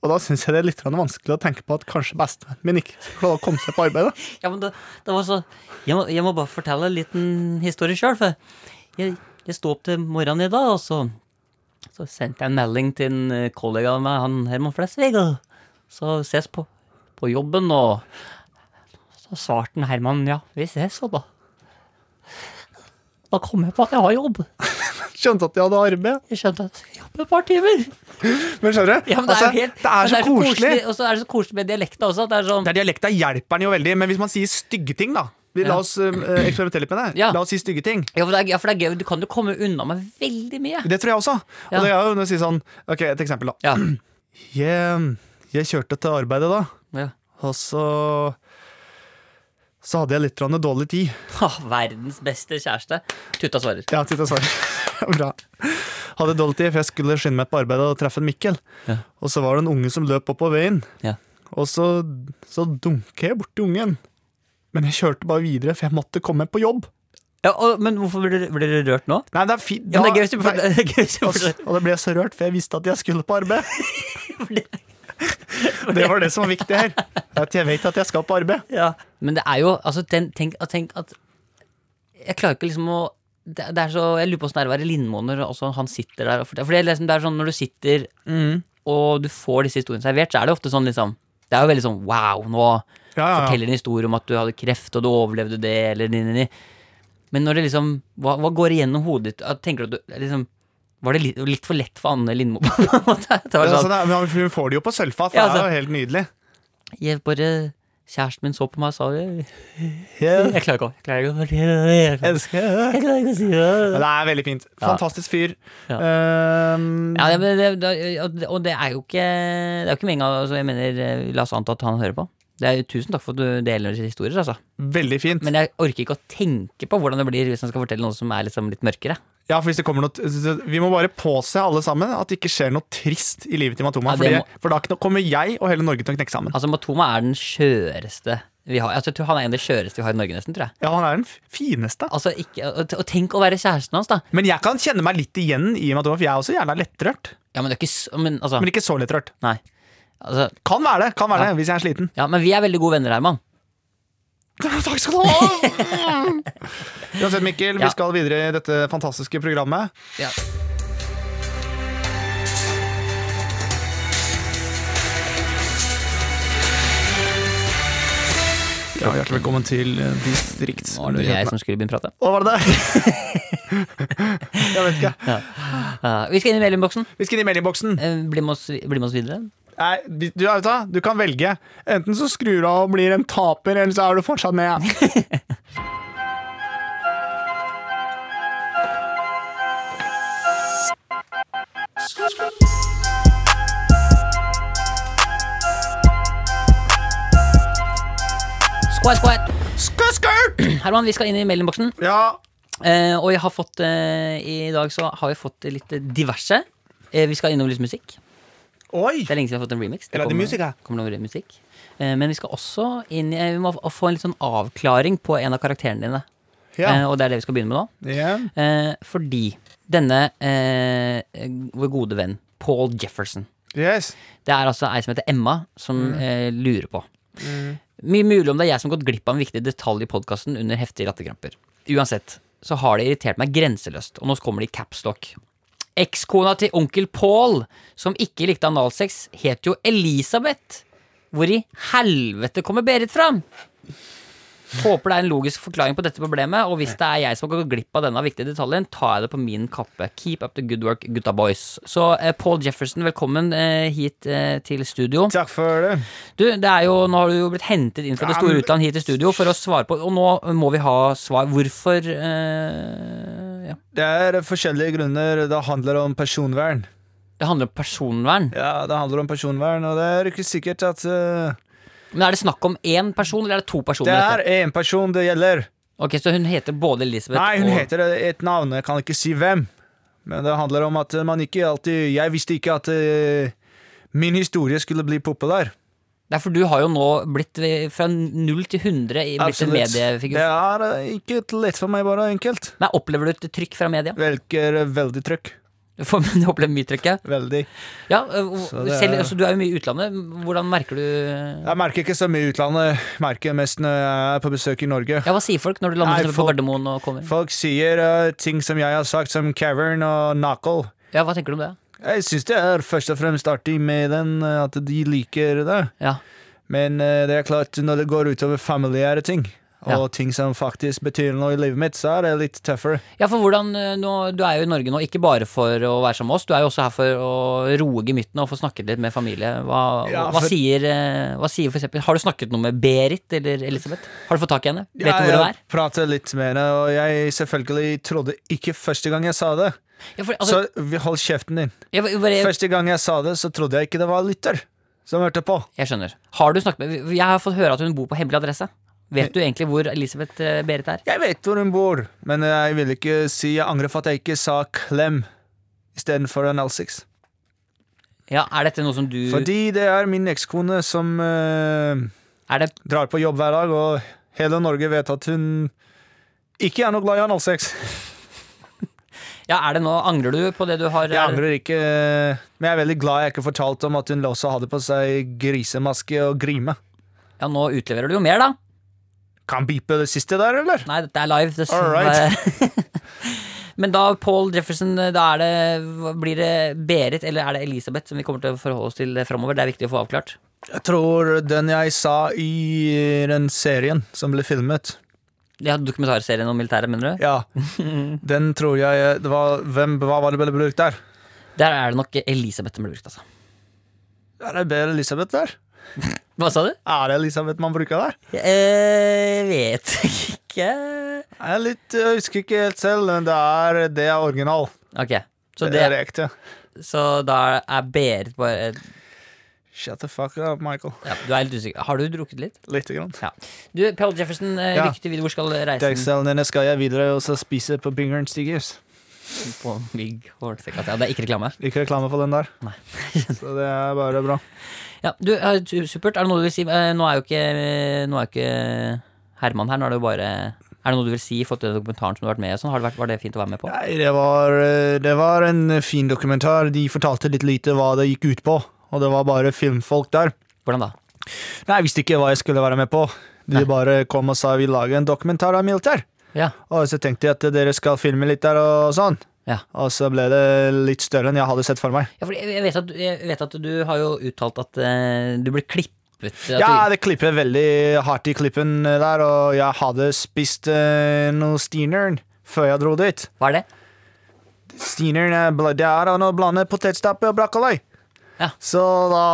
D: Og da syns jeg det er litt grann vanskelig å tenke på at kanskje bestevennen min ikke skal klare å komme seg på arbeid. Da.
B: Ja, men det, det var så jeg må, jeg må bare fortelle en liten historie sjøl. For jeg, jeg sto opp til morgenen i dag, og så, så sendte jeg en melding til en eh, kollega av meg, han Herman Flesvig. Og så ses på, på jobben, og så svarte han Herman ja, vi ses, og da Da kom jeg på at jeg har jobb.
D: Skjønte at jeg hadde arbeid.
B: Jeg skjønte at jeg jobber et par timer.
D: Men skjønner du?
B: Ja, men det,
D: altså,
B: er jo helt,
D: det
B: men
D: er så koselig.
B: Og så er det så koselig med dialekta også. At det er sånn
C: Det er Dialekta hjelper den jo veldig, men hvis man sier stygge ting, da vi La
B: Ja.
C: oss eh, eksperimentere litt med det.
B: Ja.
C: La oss si stygge ting.
B: Ja, for det er, ja, for det er gøy. Du kan jo komme unna med veldig mye.
C: Det tror jeg også.
B: Ja.
C: Og det er jo når jeg sier sånn Ok, et eksempel, da.
B: Ja.
C: Jeg, jeg kjørte til arbeidet, da,
B: ja.
C: og så Så hadde jeg litt grann dårlig tid.
B: Ha, verdens beste kjæreste. Tutta svarer.
C: Ja, titt og svar. Bra. Hadde dårlig tid, for jeg skulle skynde meg på arbeidet og treffe en Mikkel.
B: Ja.
C: Og så var det en unge som løp oppover veien,
B: Ja.
C: og så, så dunker jeg borti ungen. Men jeg kjørte bare videre, for jeg måtte komme på jobb.
B: Ja, og, men hvorfor blir du, blir du rørt nå?
C: Nei, det er fint.
B: Ja, altså, men det er gøy hvis du får- det er gøy hvis du
C: Og
B: får det.
C: og da ble jeg så rørt, for jeg visste at jeg skulle på arbeid. Det var det som var viktig her. At jeg vet at jeg skal på arbeid.
B: Ja. Men det er jo altså, den, tenk, at- tenk at Jeg klarer ikke liksom å det, det er så, Jeg lurer på åssen det er å være Lindmo når altså, han sitter der. Og forteller- for det, er liksom, det er sånn når du sitter Mm. og du får disse historiene servert, så er det ofte sånn liksom Det er jo veldig sånn wow, nå
C: Ja, ja, ja.
B: forteller en historie om at du hadde kreft, og du overlevde det, eller ni, ni, ni. Men når det liksom Hva, hva går igjennom hodet ditt? At- Tenker du at du liksom Var det litt, litt for lett for Anne Lindmo? på en måte? Det var
C: Ja, så
B: sånn,
C: det er, men hun får det jo på sølvfat, for
B: Ja,
C: det
B: altså.
C: er jo helt nydelig.
B: jeg bare Kjæresten min så på meg og sa det.
C: Jeg
B: Jeg klarer ikke å jeg klarer ikke å fortelle det. Jeg klarer-
C: elsker det.
B: jeg klarer ikke å si det.
C: Ja, Det er veldig fint. Fantastisk fyr.
B: Ja.
C: Ehm,
B: Ja, det- det, det, og det- og det er jo ikke Det er jo ikke meninga altså, Jeg mener, eh, la oss anta at han hører på. Det er, tusen takk for at du deler historier, altså.
C: veldig fint.
B: Men jeg orker ikke å tenke på hvordan det blir hvis han skal fortelle noe som er liksom litt mørkere.
C: Ja, for hvis det kommer noe så Vi må bare påse alle sammen at det ikke skjer noe trist i livet til Matoma.
B: Ja,
C: fordi,
B: det
C: For da kn- kommer jeg og hele Norge til å knekke sammen.
B: Altså Matoma er den skjøreste vi har. Altså, jeg tror han er en av de skjøreste vi har i Norge, nesten, tror jeg.
C: Ja, han er den f- fineste.
B: Altså, ikke, og, og tenk å være kjæresten hans, da.
C: Men jeg kan kjenne meg litt igjen i Matoma, for jeg er også gjerne lettrørt.
B: Ja, men det er ikke så Men altså,
C: Men ikke så lettrørt.
B: nei. Altså,
C: Kan være det, kan være det hvis jeg er sliten.
B: ja, men vi er veldig gode venner, Herman.
C: Takk skal du ha! Uansett, Mikkel,
B: Ja.
C: vi skal videre i dette fantastiske programmet.
B: Ja.
C: Ja, hjertelig velkommen til eh, Distrikts...
B: Var det jeg som skulle begynne å prate?
C: Hva var det der? jeg vet ikke.
B: Ja, vi skal inn i mailinnboksen.
C: Vi skal inn i meldingboksen.
B: Eh, Bli, med oss- bli med oss videre.
C: Nei, vi- du, vet du, hva? du kan velge. Enten så skrur du av og blir en taper, eller så er du fortsatt med.
B: Skål, skål!
C: Skurt, skurt!
B: Herman, vi skal inn i mailinnboksen.
C: Ja,
B: Eh, og jeg har fått eh, I dag så har vi fått litt diverse. Eh, vi skal innom litt musikk.
C: oi!
B: Det er lenge siden vi har fått en remix.
C: Eller er det
B: kommer-
C: musikk, ja?
B: kommer noe musikk. Eh, Men vi skal også inn i, Vi må f- få en litt sånn avklaring på en av karakterene dine. Eh,
C: Ja.
B: Og det er det vi skal begynne med nå.
C: Ja.
B: Eh, Fordi denne eh, vår gode venn Paul Jefferson
C: Yes.
B: Det er altså ei som heter Emma, som
C: Mm.
B: eh, lurer på. Mye mulig om det er jeg som har gått glipp av en viktig detalj i podkasten under heftige rattekramper. Uansett så har det irritert meg grenseløst, og nå kommer det i capslock. Ekskona til onkel Paul, som ikke likte analsex, het jo Elisabeth. Hvor i helvete kommer Berit fra? Håper det er en logisk forklaring på dette problemet, og hvis det er jeg som har gått glipp av denne viktige detaljen, tar jeg det på min kappe. Keep up the good work, gutta boys. Så eh, Paul Jefferson, velkommen eh, hit eh, til studio.
C: Takk for det.
B: Du, det er jo, Nå har du jo blitt hentet inn fra det store utland hit i studio for å svare på Og nå må vi ha svar. Hvorfor eh, ja.
C: Det er forskjellige grunner. Det handler om personvern.
B: Det handler om personvern.
C: Ja, det handler om personvern, og det er ikke sikkert at eh,
B: Men er det snakk om én person, eller er det to personer?
C: Det er
B: dette?
C: én person det gjelder.
B: Ok, Så hun heter både Elisabeth
C: Nei, hun
B: og
C: heter et navn. Jeg kan ikke si hvem. Men det handler om at man ikke alltid Jeg visste ikke at eh, min historie skulle bli populær.
B: Det er for du har jo nå blitt eh, fra null til 100 i- blitt en mediefigur.
C: Det er eh, ikke lett for meg, bare enkelt.
B: Nei, Opplever du et trykk fra media?
C: Velger eh, veldig trykk.
B: Du får- men du opplever mye trykk, ja.
C: Veldig.
B: ja eh, hvor-
C: Så det er-
B: selv, altså, du er jo mye i utlandet. Hvordan merker du
C: Jeg merker ikke så mye i utlandet. Merker mest når jeg er på besøk i Norge.
B: Ja, Hva sier folk når du
C: Nei,
B: lander for eksempel på
C: folk-
B: Gardermoen og kommer?
C: Folk sier eh, ting som jeg har sagt, som cavern og knuckle.
B: Ja, Hva tenker du om det?
C: Jeg syns det er først og fremst artig med den, eh, at de liker det.
B: Ja,
C: Men eh, det er klart, når det går utover familiære ting, og
B: Ja.
C: ting som faktisk betyr noe i livet mitt, så er det litt tøffere.
B: ja for hvordan, eh, nå, Du er jo i Norge nå, ikke bare for å være sammen med oss. Du er jo også her for å roe gemyttene og få snakket litt med familie. Hva,
C: Ja,
B: hva
C: for-
B: sier, eh, hva sier for eksempel, Har du snakket noe med Berit eller Elisabeth? Har du fått tak i henne? Vet du
C: Jeg-
B: hvor hun er?
C: Jeg prater litt med henne, og jeg selvfølgelig trodde ikke første gang jeg sa det.
B: Ja, for, altså,
C: så vi- hold kjeften din.
B: jeg, bare, jeg,
C: Første gang jeg sa det, så trodde jeg ikke det var lytter som hørte på.
B: jeg skjønner. Har du snakket med Jeg har fått høre at hun bor på hemmelig adresse. Vet du egentlig hvor Elisabeth eh, Berit er?
C: Jeg vet hvor hun bor, men jeg vil ikke si jeg angrer for at jeg ikke sa klem istedenfor en L6.
B: Ja, Er dette noe som du
C: Fordi det er min ekskone som eh,
B: Er det
C: drar på jobb hver dag, og hele Norge vet at hun ikke er noe glad i en L6.
B: Ja, er det nå, Angrer du på det du har
C: Jeg angrer ikke, men jeg er veldig glad jeg ikke fortalte om at hun også hadde på seg grisemaske og grime.
B: Ja, Nå utleverer du jo mer, da.
C: Kan beepe det siste der, eller?
B: Nei, dette er live. Det
C: All
B: Men da, Paul Jefferson, eh, da er det, hva- blir det Berit eller er det Elisabeth som vi kommer til å forholde oss til framover? Det er viktig å få avklart.
C: Jeg tror den jeg sa i den serien som ble filmet
B: Ja, Dokumentarserien om militæret, mener du?
C: Ja, den tror jeg det var, hvem, Hva var det ble brukt der?
B: Der er det nok Elisabeth som blir brukt, altså.
C: Er det Bell Elisabeth der?
B: Hva sa du?
C: Er det Elisabeth man bruker der?
B: Jeg Eh, vet ikke.
C: Jeg, er litt, jeg husker ikke helt selv, men det er, det er original.
B: Ok, så,
C: Det, er
B: det,
C: ekte.
B: så da er Berit bare
C: Shut the fuck up, Michael.
B: ja, Du er litt usikker. Har du drukket litt?
C: Lite grann.
B: Ja. Du, Paul Jefferson, eh,
C: Ja.
B: lykke til videre. Hvor skal reisen
C: Dagsdelen denne skal jeg videre og så spise på Bingeren Stigers.
B: på mygg? Hårsekk, altså. Ja, det er ikke reklame.
C: Ikke reklame for den der.
B: Nei.
C: så det er bare bra.
B: Ja, du, eh, su- supert. Er det noe du vil si? Eh, Nå er jo ikke, eh, nå er jo ikke Herman her. Nå er det jo bare Er det noe du vil si i forhold til den dokumentaren som du har vært med i? og Sånn? Har det vært, var det fint å være med på?
C: Nei, det var, eh, det var en fin dokumentar. De fortalte litt lite hva det gikk ut på, og det var bare filmfolk der.
B: Hvordan da?
C: Nei, jeg visste ikke hva jeg skulle være med på. De bare kom og sa vi lager en dokumentar av militær.
B: Ja.
C: Og så tenkte jeg at dere skal filme litt der og sånn.
B: Ja.
C: Og så ble det litt større enn jeg hadde sett for meg.
B: ja for jeg jeg vet, at, jeg vet at du har jo uttalt at eh, du blir klippet. At
C: Ja,
B: du,
C: det klipper veldig hardt i klippen eh, der, og jeg hadde spist eh, noe Steenern før jeg dro dit.
B: hva er det?
C: Steenern er bla- det er å blande potetstappe og brokkoli.
B: Ja.
C: Så da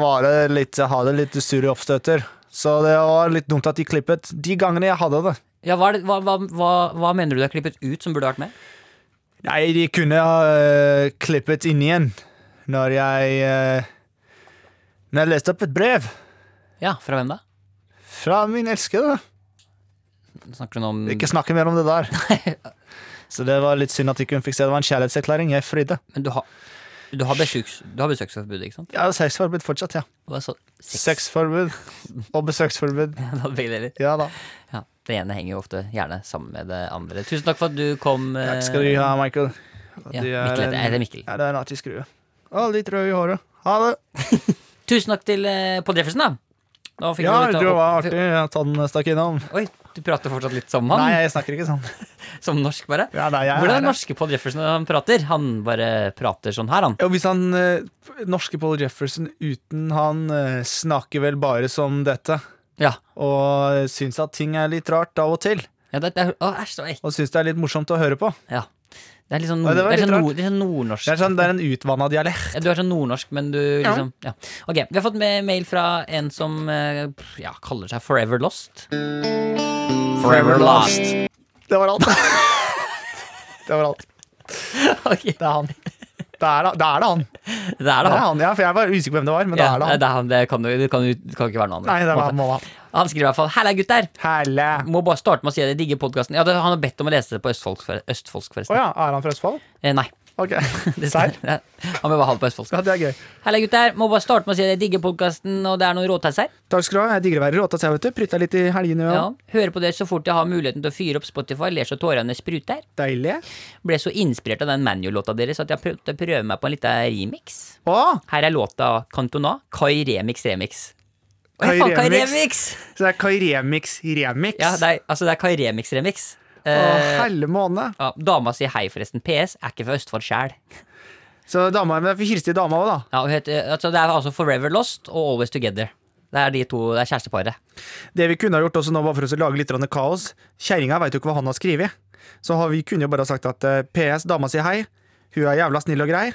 C: var det litt, jeg hadde litt sure oppstøter. Så det var litt dumt at de klippet de gangene jeg hadde det.
B: Ja, hva, er det hva, hva, hva, hva mener du du har klippet ut som burde vært med?
C: Nei, de kunne ha eh, klippet inn igjen når jeg eh, Når jeg leste opp et brev
B: Ja, fra hvem da?
C: fra min elskede.
B: Snakker du nå om
C: Ikke snakke mer om det der. Så det var litt synd at ikke hun fikk se. Det var en kjærlighetserklæring. Jeg frydde.
B: Men du har, du har, besøks, du har besøksforbud, ikke sant?
C: Jeg har sexforbud fortsatt, ja.
B: Hva så? Sex.
C: Sexforbud og besøksforbud.
B: Ja, da begge deler.
C: Ja da.
B: Ja, det ene henger jo ofte gjerne sammen med det andre. Tusen takk for at du kom. eh,
C: Takk skal du ha, Michael.
B: Ja,
C: Du
B: Mikkel, heter-
C: en-
B: er det Mikkel?
C: Ja, det er en artig skrue. Og litt rød i håret. Ha det!
B: Tusen takk til eh, Paul Jefferson, da. Da fikk
C: Ja,
B: du litt
C: det
B: av-
C: var artig at han stakk innom.
B: Oi, du prater fortsatt litt som han?
C: Nei, jeg snakker ikke sånn.
B: Som norsk, bare?
C: Ja, nei, jeg,
B: Hvordan er
C: er-
B: den norske Paul Jefferson når han prater? Han bare prater sånn her, han.
C: Ja, hvis han eh, norske Paul Jefferson uten han eh, snakker vel bare som dette,
B: Ja.
C: og eh, syns at ting er litt rart av og til,
B: ja det, det er, å, æsj, det var ekkelt.
C: og syns det er litt morsomt å høre på.
B: Ja. Det er litt sånn,
C: Nei,
B: nord,
C: det var
B: det er
C: litt
B: sånn,
C: rart.
B: nord, det er sånn nordnorsk.
C: Det er, sånn, det er en utvanna dialekt.
B: Ja, Du er sånn nordnorsk, men du liksom ja. Ok, Vi har fått med mail fra en som eh, pff, ja, kaller seg Forever Lost. Forever Lost.
C: Det var alt. det var alt.
B: Ok,
C: Det er han. Det er, da- det er det han.
B: Det er
C: Det
B: det
C: er
B: han.
C: han, ja, for Jeg var usikker på hvem det var, men det
B: Ja,
C: er det
B: nei,
C: han.
B: det er han. Det kan, du- det kan, du- det kan ikke være noe annet.
C: Nei, det
B: på en
C: var
B: måte.
C: han, mamma.
B: Han skriver i hvert fall 'Halla, gutter'.
C: Helle.
B: Må bare starte med å si at jeg digger podkasten. Ja, det, han har bedt om å lese det på østfoldsk, for- østfoldsk
C: Å
B: forresten.
C: ja, er han fra Østfold?
B: Eh, nei.
C: Ok,
B: Det-
C: Serr?
B: Ja, Han vil bare ha det på østfoldsk.
C: Ja, det er gøy.
B: Hei, gutter. Må bare starte med å si at jeg digger podkasten, og det er noen råtass her.
C: Takk skal du ha. Jeg digger å være råtass, jeg, vet du. Prytta litt i helgene. Ja.
B: Ja. Hører på dere så fort jeg har muligheten til å fyre opp Spotify, ler så tårene spruter.
C: Deilig.
B: Ble så inspirert av den Manuel-låta deres at jeg prøvde å prøve meg på en liten remix.
C: Å!
B: Her er låta Cantona, Kai Remix Remix. Oi,
C: Kai
B: faen, Kai
C: Remix.
B: Remix!
C: Så det er Kai Remix Remix.
B: Ja, det er, altså, det er Kai Remix Remix.
C: Å,
B: Eh,
C: helle måne.
B: ja, dama sier hei, forresten. PS. Er ikke fra Østfold sjæl.
C: Så dama men vi hilste til dama òg, da.
B: Ja, hun heter- altså, det er altså Forever Lost og Always Together. Det er de to, det er kjæresteparet.
C: Det vi kunne ha gjort også nå, bare for oss å lage litt grann kaos Kjerringa veit jo ikke hva han har skrevet. Så har vi kunne jo bare ha sagt at eh, PS, dama sier hei. Hun er jævla snill og grei.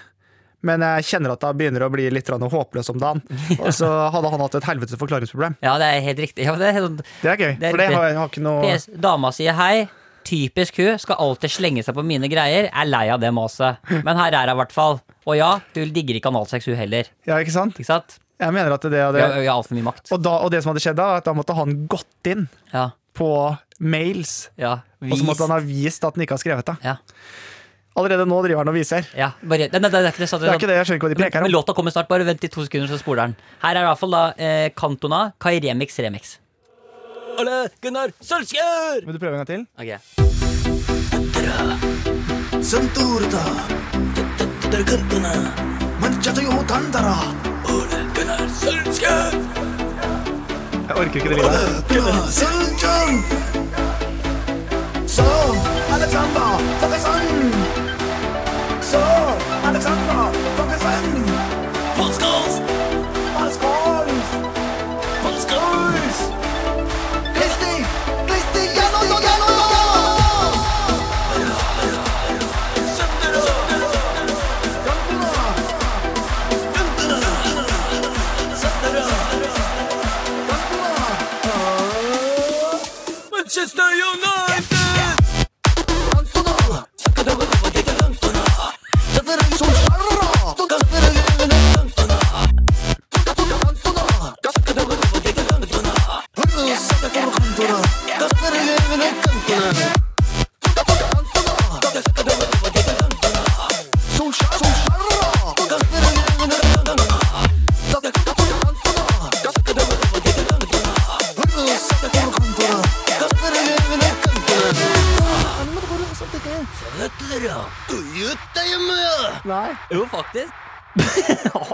C: Men jeg kjenner at hun begynner å bli litt grann håpløs om dagen. Og så hadde han hatt et helvetes forklaringsproblem.
B: Ja, det er helt riktig. Ja, det er helt...
C: Det er gøy,
B: Det er
C: for det
B: riktig.
C: har, har ikke noe
B: PS, dama sier hei. Typisk hun. Skal alltid slenge seg på mine greier. Er lei av det maset. Men her er hun i hvert fall. Og ja, hun digger ikke analsex, hun heller.
C: Ja, ikke sant?
B: Ikke sant?
C: Jeg mener at det hadde
B: Hun har altfor mye makt.
C: og, da, og det som hadde skjedd da, er at da måtte han gått inn
B: Ja.
C: på mails.
B: ja.
C: Og så måtte
B: Vis.
C: han ha vist at han ikke har skrevet det.
B: Ja.
C: Allerede nå driver han og viser.
B: ja. Bare, nei, nei, det er sånn- ikke det.
C: Det er ikke det, jeg skjønner ikke hva de
B: Men,
C: preker
B: men
C: om.
B: låta kommer snart. Bare vent i to sekunder, så spoler den. Her er i hvert fall da eh, Cantona, Kai Remix Remix. Ole Gunnar Sølskjær!
C: Vil du prøve en gang til?
B: Ok.
C: Jeg orker ikke det livet.
B: Jo, faktisk.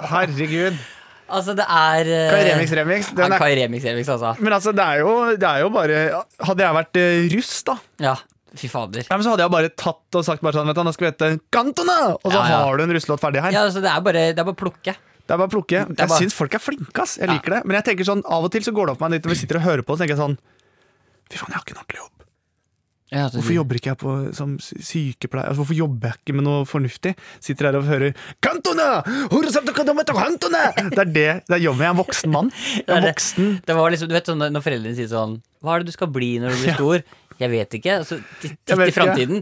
C: Herregud.
B: Altså, det er eh,
C: Kai Remix Remix.
B: ja,
C: Den er,
B: Kai Remix Remix, altså.
C: men altså, det er, jo, det er jo bare Hadde jeg vært eh, russ, da,
B: Ja. Fy fader.
C: ja, men så hadde jeg bare tatt og sagt bare sånn Vet du, nå skal vi hete Cantona! Og så
B: Ja, ja.
C: har du en russelåt ferdig her.
B: Ja, altså, det er bare, det er bare å plukke.
C: Det er bare å plukke.
B: Det er
C: Jeg
B: bare-
C: syns folk er flinke, ass. Jeg
B: Ja.
C: liker det. Men jeg tenker sånn, av og til så går det opp for meg litt når vi sitter og hører på, så tenker jeg sånn Fy faen, jeg har ikke en ordentlig jobb.
B: Ja, altså,
C: Hvorfor jobber ikke jeg på, som sy- sykepleier? Altså, hvorfor jobber jeg ikke med noe fornuftig? Sitter her og hører Cantona! Horisonte Cantona! Cantona! Det er det. Det er jobben. Jeg er en voksen mann. Jeg
B: Det er
C: er
B: det.
C: voksen.
B: Det var liksom, du vet sånn, Når foreldrene sier sånn Hva er det du skal bli når du blir stor? Jeg vet ikke. Altså, titt
C: Jeg
B: titt
C: vet
B: i framtiden.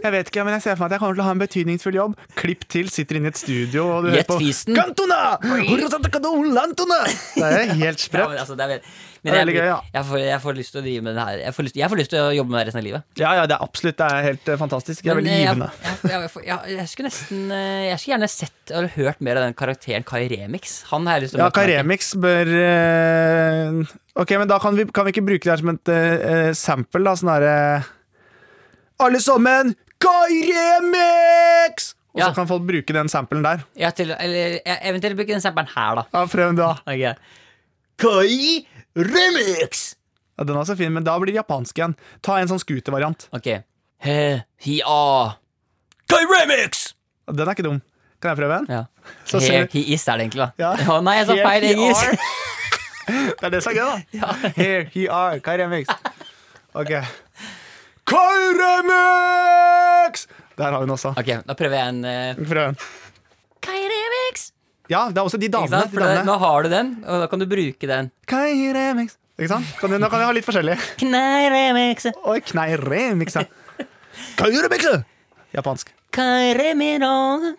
C: Jeg vet ikke, men jeg ser for meg at jeg kommer til å ha en betydningsfull jobb. Klipp til, sitter inne i et studio og du
B: Gjett
C: hører på
B: fisen.
C: Cantona! Horisonte Cantona! Antona!» Det er helt
B: Ja,
C: sprøtt.
B: men, altså, det er, veld-
C: Det
B: men
C: er
B: jeg,
C: veldig gøy, ja.
B: jeg, får, jeg får lyst til å drive med det her. Jeg får lyst, jeg får lyst til å jobbe med det resten av livet.
C: Ja, ja, det er absolutt det er helt eh, fantastisk. Det er
B: Men,
C: veldig
B: eh, jeg,
C: givende.
B: jeg, jeg, jeg, jeg, jeg skulle nesten eh, Jeg skulle gjerne sett eller hørt mer av den karakteren Kai Remix. Han har jeg lyst til å
C: Ja,
B: møte meg til.
C: Karemix bør eh, Ok, men da kan vi, kan vi ikke bruke det her som et eh, sample, da? Sånn herre Alle sammen, Karemix! Og så
B: Ja.
C: kan folk bruke den samplen der.
B: Ja, til, eller ja, eventuelt bruke den samperen her, da.
C: Ja, Prøv den, da.
B: Ok. Kai Remix!
C: Ja, den er så fin, men da blir det japansk igjen. Ta en sånn scooter-variant.
B: Ok. He, hi, a. Kai Remix!
C: Den er ikke dum. Kan jeg prøve en?
B: Ja.
C: Så
B: he,
C: ser du-
B: he is er det egentlig, da.
C: Ja.
B: Å, nei, jeg sa
C: Here
B: feil
C: he are.
B: engelsk.
C: Det er det som er gøy, da. Here he are, Kai Remix. Ok. Kai Remix! Der har vi den også.
B: Ok, da prøver jeg en eh,
C: Prøv den.
B: Kai Remix!
C: Ja, det er også de
B: Ikke
C: damene.
B: sant?
C: De
B: For da,
C: damene.
B: nå har du den, og da kan du bruke den.
C: Kai Remix. Ikke sant? Kan vi, nå kan vi ha litt forskjellig.
B: Knei Remix,
C: Oi, knei remix, ja. Kai Remix! Japansk.
B: Kai Remirong.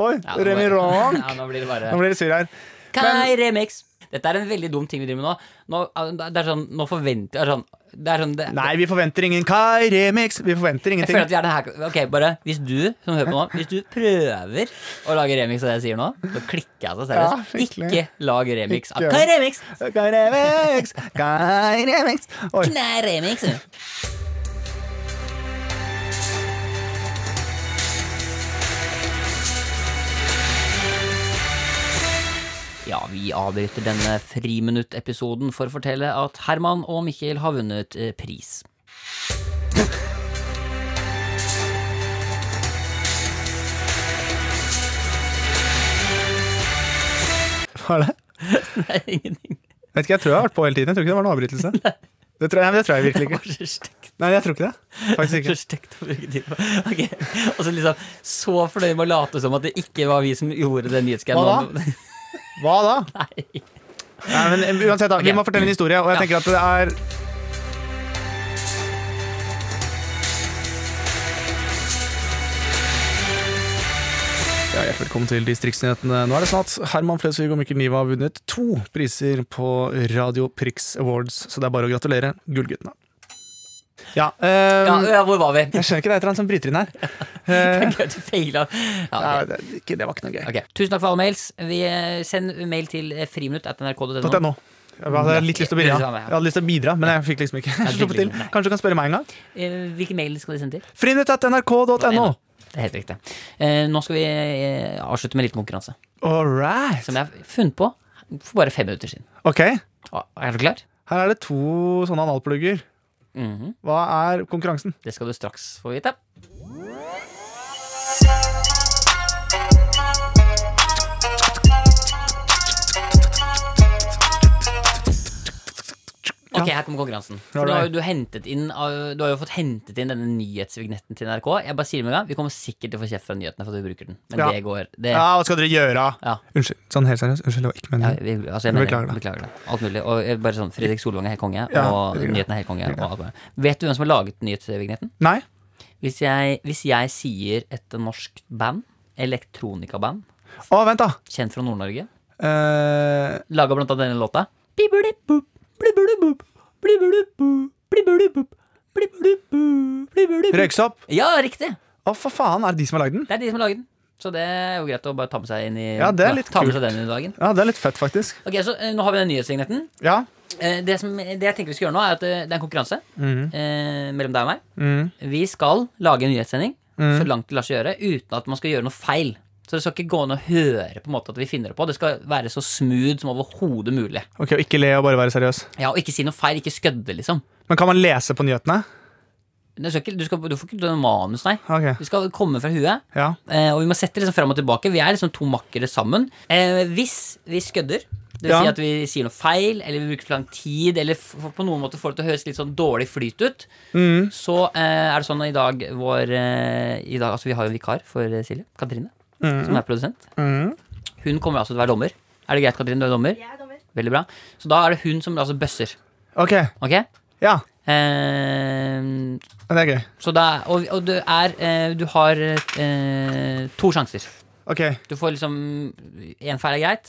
C: Oi,
B: Ja, nå-
C: Remi Ronk.
B: Ja, nå blir det bare
C: Nå blir det sur her.
B: Kai Remix. Dette er en veldig dum ting vi driver med nå. nå er det er sånn, nå forventer jeg sånn Det er sånn det,
C: Nei, vi forventer ingen Kai Remix. Vi forventer
B: Jeg føler
C: ingenting.
B: at vi er den her Ok, bare Hvis du som hører på nå Hvis du prøver å lage remix av det jeg sier nå, så klikker jeg så
C: Ja,
B: seriøst.
C: skikkelig.
B: ikke lag remix av
C: Ikke.
B: Kai Remix!
C: Kai Remix, Kai Remix. Oi.
B: Nei, remix. Ja, vi avbryter denne friminutt-episoden for å fortelle at Herman og Mikkel har vunnet eh, pris.
C: Hva er det?
B: Nei, ingenting.
C: Vet ikke, Jeg tror jeg har vært på hele tiden. Jeg tror ikke det var noen avbrytelse. Det tror jeg, nei, men det tror jeg virkelig ikke.
B: Bare så stygt.
C: Nei, jeg tror ikke det. Faktisk
B: Så
C: ikke.
B: stygt å bruke tid på. Ok, Og så liksom så fornøyd med å late som at det ikke var vi som gjorde den
C: Hva
B: nyhetsgreia.
C: Hva da? Nei. men eh, uansett, da. Vi må fortelle en historie, og jeg
B: Ja.
C: tenker at det er Ja, hjertelig Velkommen til Distriktsnyhetene. Nå er det sånn at Herman Flesvig og Mikkel Niva har vunnet to priser på Radio Prix Awards, så det er bare å gratulere Gullguttene. Ja,
B: Ja,
C: ehm,
B: ja, hvor var vi?
C: Jeg skjønner ikke, det er et eller annet som bryter inn her. Eh,
B: Det er gøy at du feiler. Ja, ok.
C: Nei, det, er ikke, det var ikke noe gøy.
B: Ok, Tusen takk for alle mails. Vi eh, Send mail til eh, friminutt.nrk.no.
C: Tatt jeg nå. Jeg hadde litt lyst til å bidra,
B: Mm, Ja.
C: jeg hadde lyst til å bidra men jeg fikk liksom ikke
B: fikk
C: sluppet til.
B: ikke, nei.
C: Kanskje du kan spørre meg en gang?
B: Eh, Hvilken mail skal de sende til?
C: Friminutt.nrk.no.
B: Det er helt riktig. Eh, Nå skal vi eh, avslutte med en liten konkurranse
C: All right.
B: som jeg har funnet på for bare fem minutter siden.
C: Ok,
B: Ah, Er du klar?
C: her er det to sånne analplugger.
B: Mhm.
C: Hva er konkurransen?
B: Det skal du straks få vite. Ok, her kommer konkurransen. For
C: Alright.
B: nå har jo du, hentet inn, av- du har jo fått hentet inn denne nyhetsvignetten til NRK. Jeg bare sier det med en gang Vi kommer sikkert til å få kjeft fra nyhetene for at vi bruker den. Men
C: Ja.
B: det går det,
C: Ja, Ah, hva skal dere gjøre?
B: Ja.
C: Unnskyld, sånn helt seriøst. Unnskyld, det var ikke
B: Ja,
C: meningen.
B: vi, altså jeg
C: Vi
B: mener,
C: beklager
B: beklager,
C: det.
B: det. Alt mulig. Og jeg- bare sånn, Fredrik Solvang er helt konge,
C: Ja,
B: og
C: det er greit.
B: nyheten er helt konge. Og alt mulig. Vet du hvem som har laget nyhetsvignetten?
C: Nei?
B: Hvis jeg, hvis jeg sier et norsk band, elektronikaband,
C: Å, vent, da.
B: kjent fra Nord-Norge,
C: Eh,
B: laga blant annet denne låta Blibblibboop, blibblibboop, blibblibboop, blibblibboop, blibblibboop, blibblibboop.
C: Røyksopp.
B: Ja, riktig!
C: Å, for faen, er det de som har lagd den?
B: Det er de som har laget den. Så det er jo greit å bare ta med seg inn i
C: Ja, det er litt
B: ta med
C: kult.
B: seg den i dagen.
C: Ja, det er litt fett, faktisk.
B: Ok, så eh, Nå har vi den nyhetssignetten.
C: Ja.
B: Eh, det, som, det jeg tenker vi skal gjøre nå, er at eh, det er en konkurranse eh, mellom deg og meg.
C: Mhm.
B: Vi skal lage en nyhetssending så langt det lar seg gjøre, uten at man skal gjøre noe feil. Så det skal ikke gå an å høre på en måte at vi finner det på. Det skal være så smooth som overhodet mulig.
C: Ok, og Ikke le og bare være seriøs.
B: Ja, Og ikke si noe feil. Ikke skødde, liksom. Men
C: Men kan man lese på nyhetene?
B: Du, skal ikke, du, skal, du får ikke noe manus, nei.
C: Ok,
B: Vi skal komme fra huet.
C: ja.
B: Eh, og vi må sette liksom fram og tilbake. Vi er liksom to makkere sammen. Eh, hvis vi skødder, det vil
C: Ja.
B: si at vi sier noe feil, eller vi bruker for lang tid, eller f på noen måte får det til å høres litt sånn dårlig flyt ut, så eh, er det sånn at i dag vår eh, i dag, Altså, vi har jo en vikar for eh, Silje. Katrine, som er produsent. Hun kommer altså til å være dommer. Er det greit, Katrine? Du er dommer? Jeg er dommer. Veldig bra. Så da er det hun som altså bøsser.
C: Ok,
B: Ok?
C: ja.
B: Eh,
C: Det er gøy.
B: så da, og, og du er eh, Du har eh, to sjanser.
C: Ok,
B: Du får liksom Én feil er greit.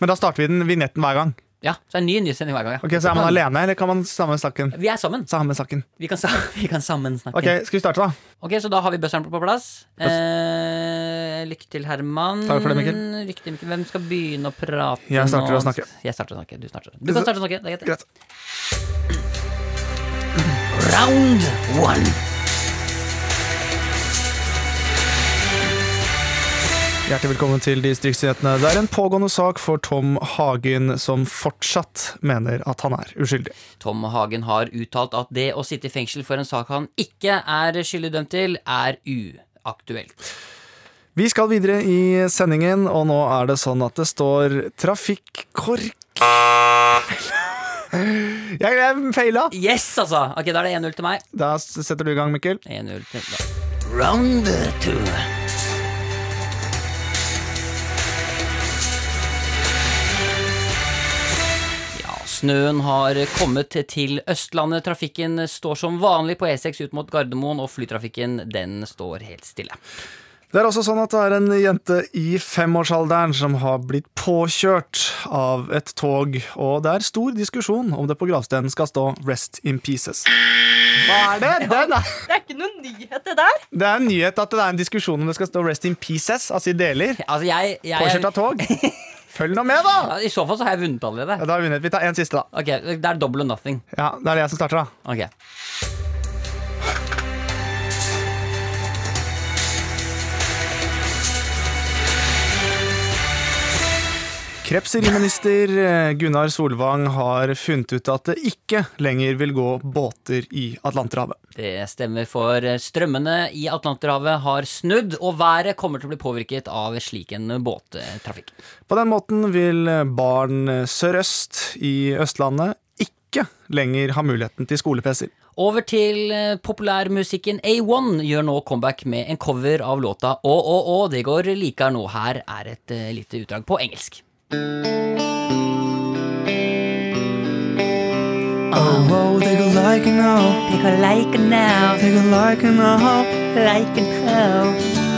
C: Men da starter vi den vignetten hver gang.
B: Ja, så er det en ny nyhetssending hver gang. Ja.
C: Ok, Så er man
B: kan-
C: alene, eller kan man sammen snakken?
B: Vi er sammen.
C: Samme saken.
B: Vi kan, sa- vi kan sammen snakke.
C: Ok, skal vi starte, da?
B: Ok, Så da har vi bøsseren på plass. Eh, lykke til, Herman.
C: Takk for det, Mikkel.
B: Lykke til, Mikkel. Hvem skal begynne å prate?
C: Jeg starter
B: nå?
C: å snakke.
B: Jeg starter å snakke. Du starter. Du kan starte å snakke. Det er greit.
C: Greit.
B: Round one.
C: Hjertelig velkommen til Distriktsnyhetene. Det er en pågående sak for Tom Hagen, som fortsatt mener at han er uskyldig.
B: Tom Hagen har uttalt at det å sitte i fengsel for en sak han ikke er skyldig dømt til, er uaktuelt.
C: Vi skal videre i sendingen, og nå er det sånn at det står trafikkork Jeg jeg feila!
B: Yes, altså! Ok, Da er det 1-0 til meg.
C: Da setter du i gang, Mikkel.
B: 1-0 til Round two. Ja, Snøen har kommet til Østlandet. Trafikken E står som vanlig på E6 ut mot Gardermoen, og flytrafikken den står helt stille.
C: Det er også sånn at det er en jente i femårsalderen som har blitt påkjørt av et tog, og det er stor diskusjon om det på gravstenen skal stå 'Rest in Pieces'. Hva er det? Den er,
H: Det er ikke noen nyhet, det der.
C: det er en nyhet at det er en diskusjon om det skal stå 'Rest in Pieces', altså i deler.
B: Altså, jeg, jeg,
C: Påkjørt av tog. Følg nå med, da!
B: Ja, I så fall så har jeg vunnet
C: Ja,
B: allerede.
C: da har vi vunnet. Vi tar en siste, da.
B: Ok, Det er double or nothing.
C: Ja, Det er det jeg som starter, da.
B: Ok
C: Krepseriminister eh, Gunnar Solvang har funnet ut at det ikke lenger vil gå båter i Atlanterhavet.
B: Det stemmer, for strømmene i Atlanterhavet har snudd, og været kommer til å bli påvirket av slik en båttrafikk.
C: På den måten vil barn sørøst i Østlandet ikke lenger ha muligheten til skolepeser.
B: Over til eh, populærmusikken A1 gjør nå comeback med en cover av låta Å, å, å, det går likar nå. Her er et eh, lite utdrag på engelsk.
D: Oh, they go like it now,
A: Take a like now,
D: they go like it now.
A: like now.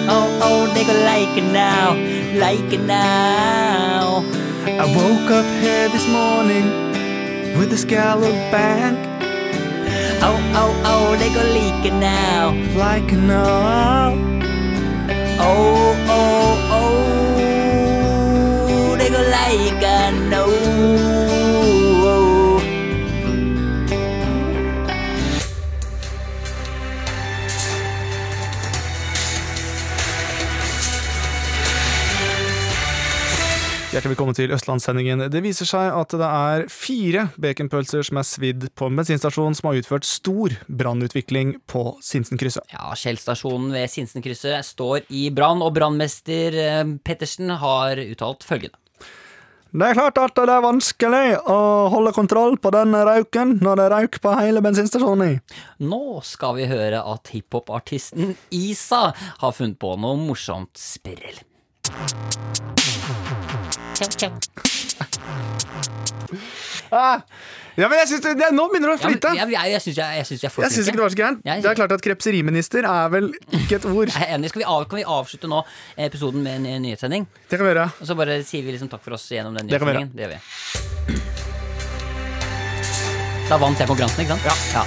A: Oh, oh, take a like now, like now.
D: I woke up here this morning with a scallop bank,
A: Oh, oh, oh, take a like now.
D: like it now.
A: Oh, oh, oh, take a like now.
C: Hjertelig velkommen til Østlandssendingen. Det viser seg at det er fire baconpølser som er svidd på en bensinstasjon som har utført stor brannutvikling på Sinsenkrysset.
B: Ja, Skjellstasjonen ved Sinsenkrysset står i brann, og brannmester eh, Pettersen har uttalt følgende.
C: Det er klart at det er vanskelig å holde kontroll på den rauken når det er rauk på hele bensinstasjonen.
B: Nå skal vi høre at hiphopartisten Isa har funnet på noe morsomt sprell.
C: Ah. Ja, men jeg synes det, det, Nå begynner det å
B: Ja, men,
C: flyte!
B: jeg jeg, jeg syns jeg, jeg, synes jeg får
C: Jeg syns ikke det var så gærent.
B: Jeg-
C: Det er klart at krepseriminister er vel ikke et ord.
B: Jeg er enig. Skal vi av, kan vi avslutte nå episoden med en, en nyhetssending?
C: Det kan vi gjøre.
B: Og så bare sier vi liksom takk for oss gjennom den
C: Det kan vi
B: nyhetssendingen? Det gjør vi. Da vant jeg konkurransen, ikke sant? Ja.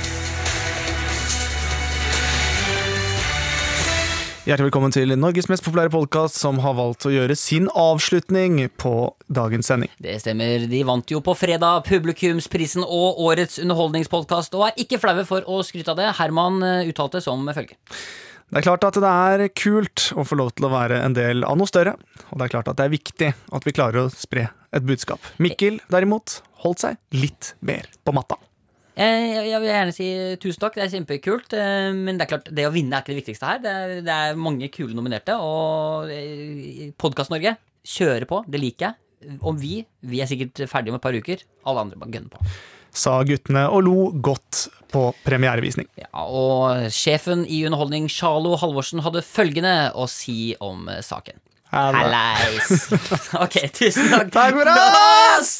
C: Hjertelig velkommen til Norges mest populære podkast, som har valgt å gjøre sin avslutning på dagens sending.
B: Det stemmer. De vant jo på fredag publikumsprisen og årets underholdningspodkast, og er ikke flaue for å skryte av det. Herman eh, uttalte som følger.
C: Det er klart at det er kult å få lov til å være en del av noe større, og det er klart at det er viktig at vi klarer å spre et budskap. Mikkel, derimot, holdt seg litt mer på matta.
B: Jeg, Eh, jeg, jeg vil gjerne si tusen takk, det er kjempekult. eh, Men det er klart, det å vinne er ikke det viktigste her. Det er, det er mange kule nominerte, og Podkast-Norge kjører på. Det liker jeg. Om vi Vi er sikkert ferdige om et par uker. Alle andre bare gønner på.
C: Sa guttene og lo godt på premierevisning.
B: Ja, og sjefen i Underholdning, Charlo Halvorsen, hadde følgende å si om eh, saken. Hallais! ok, tusen takk.
C: Takk for oss!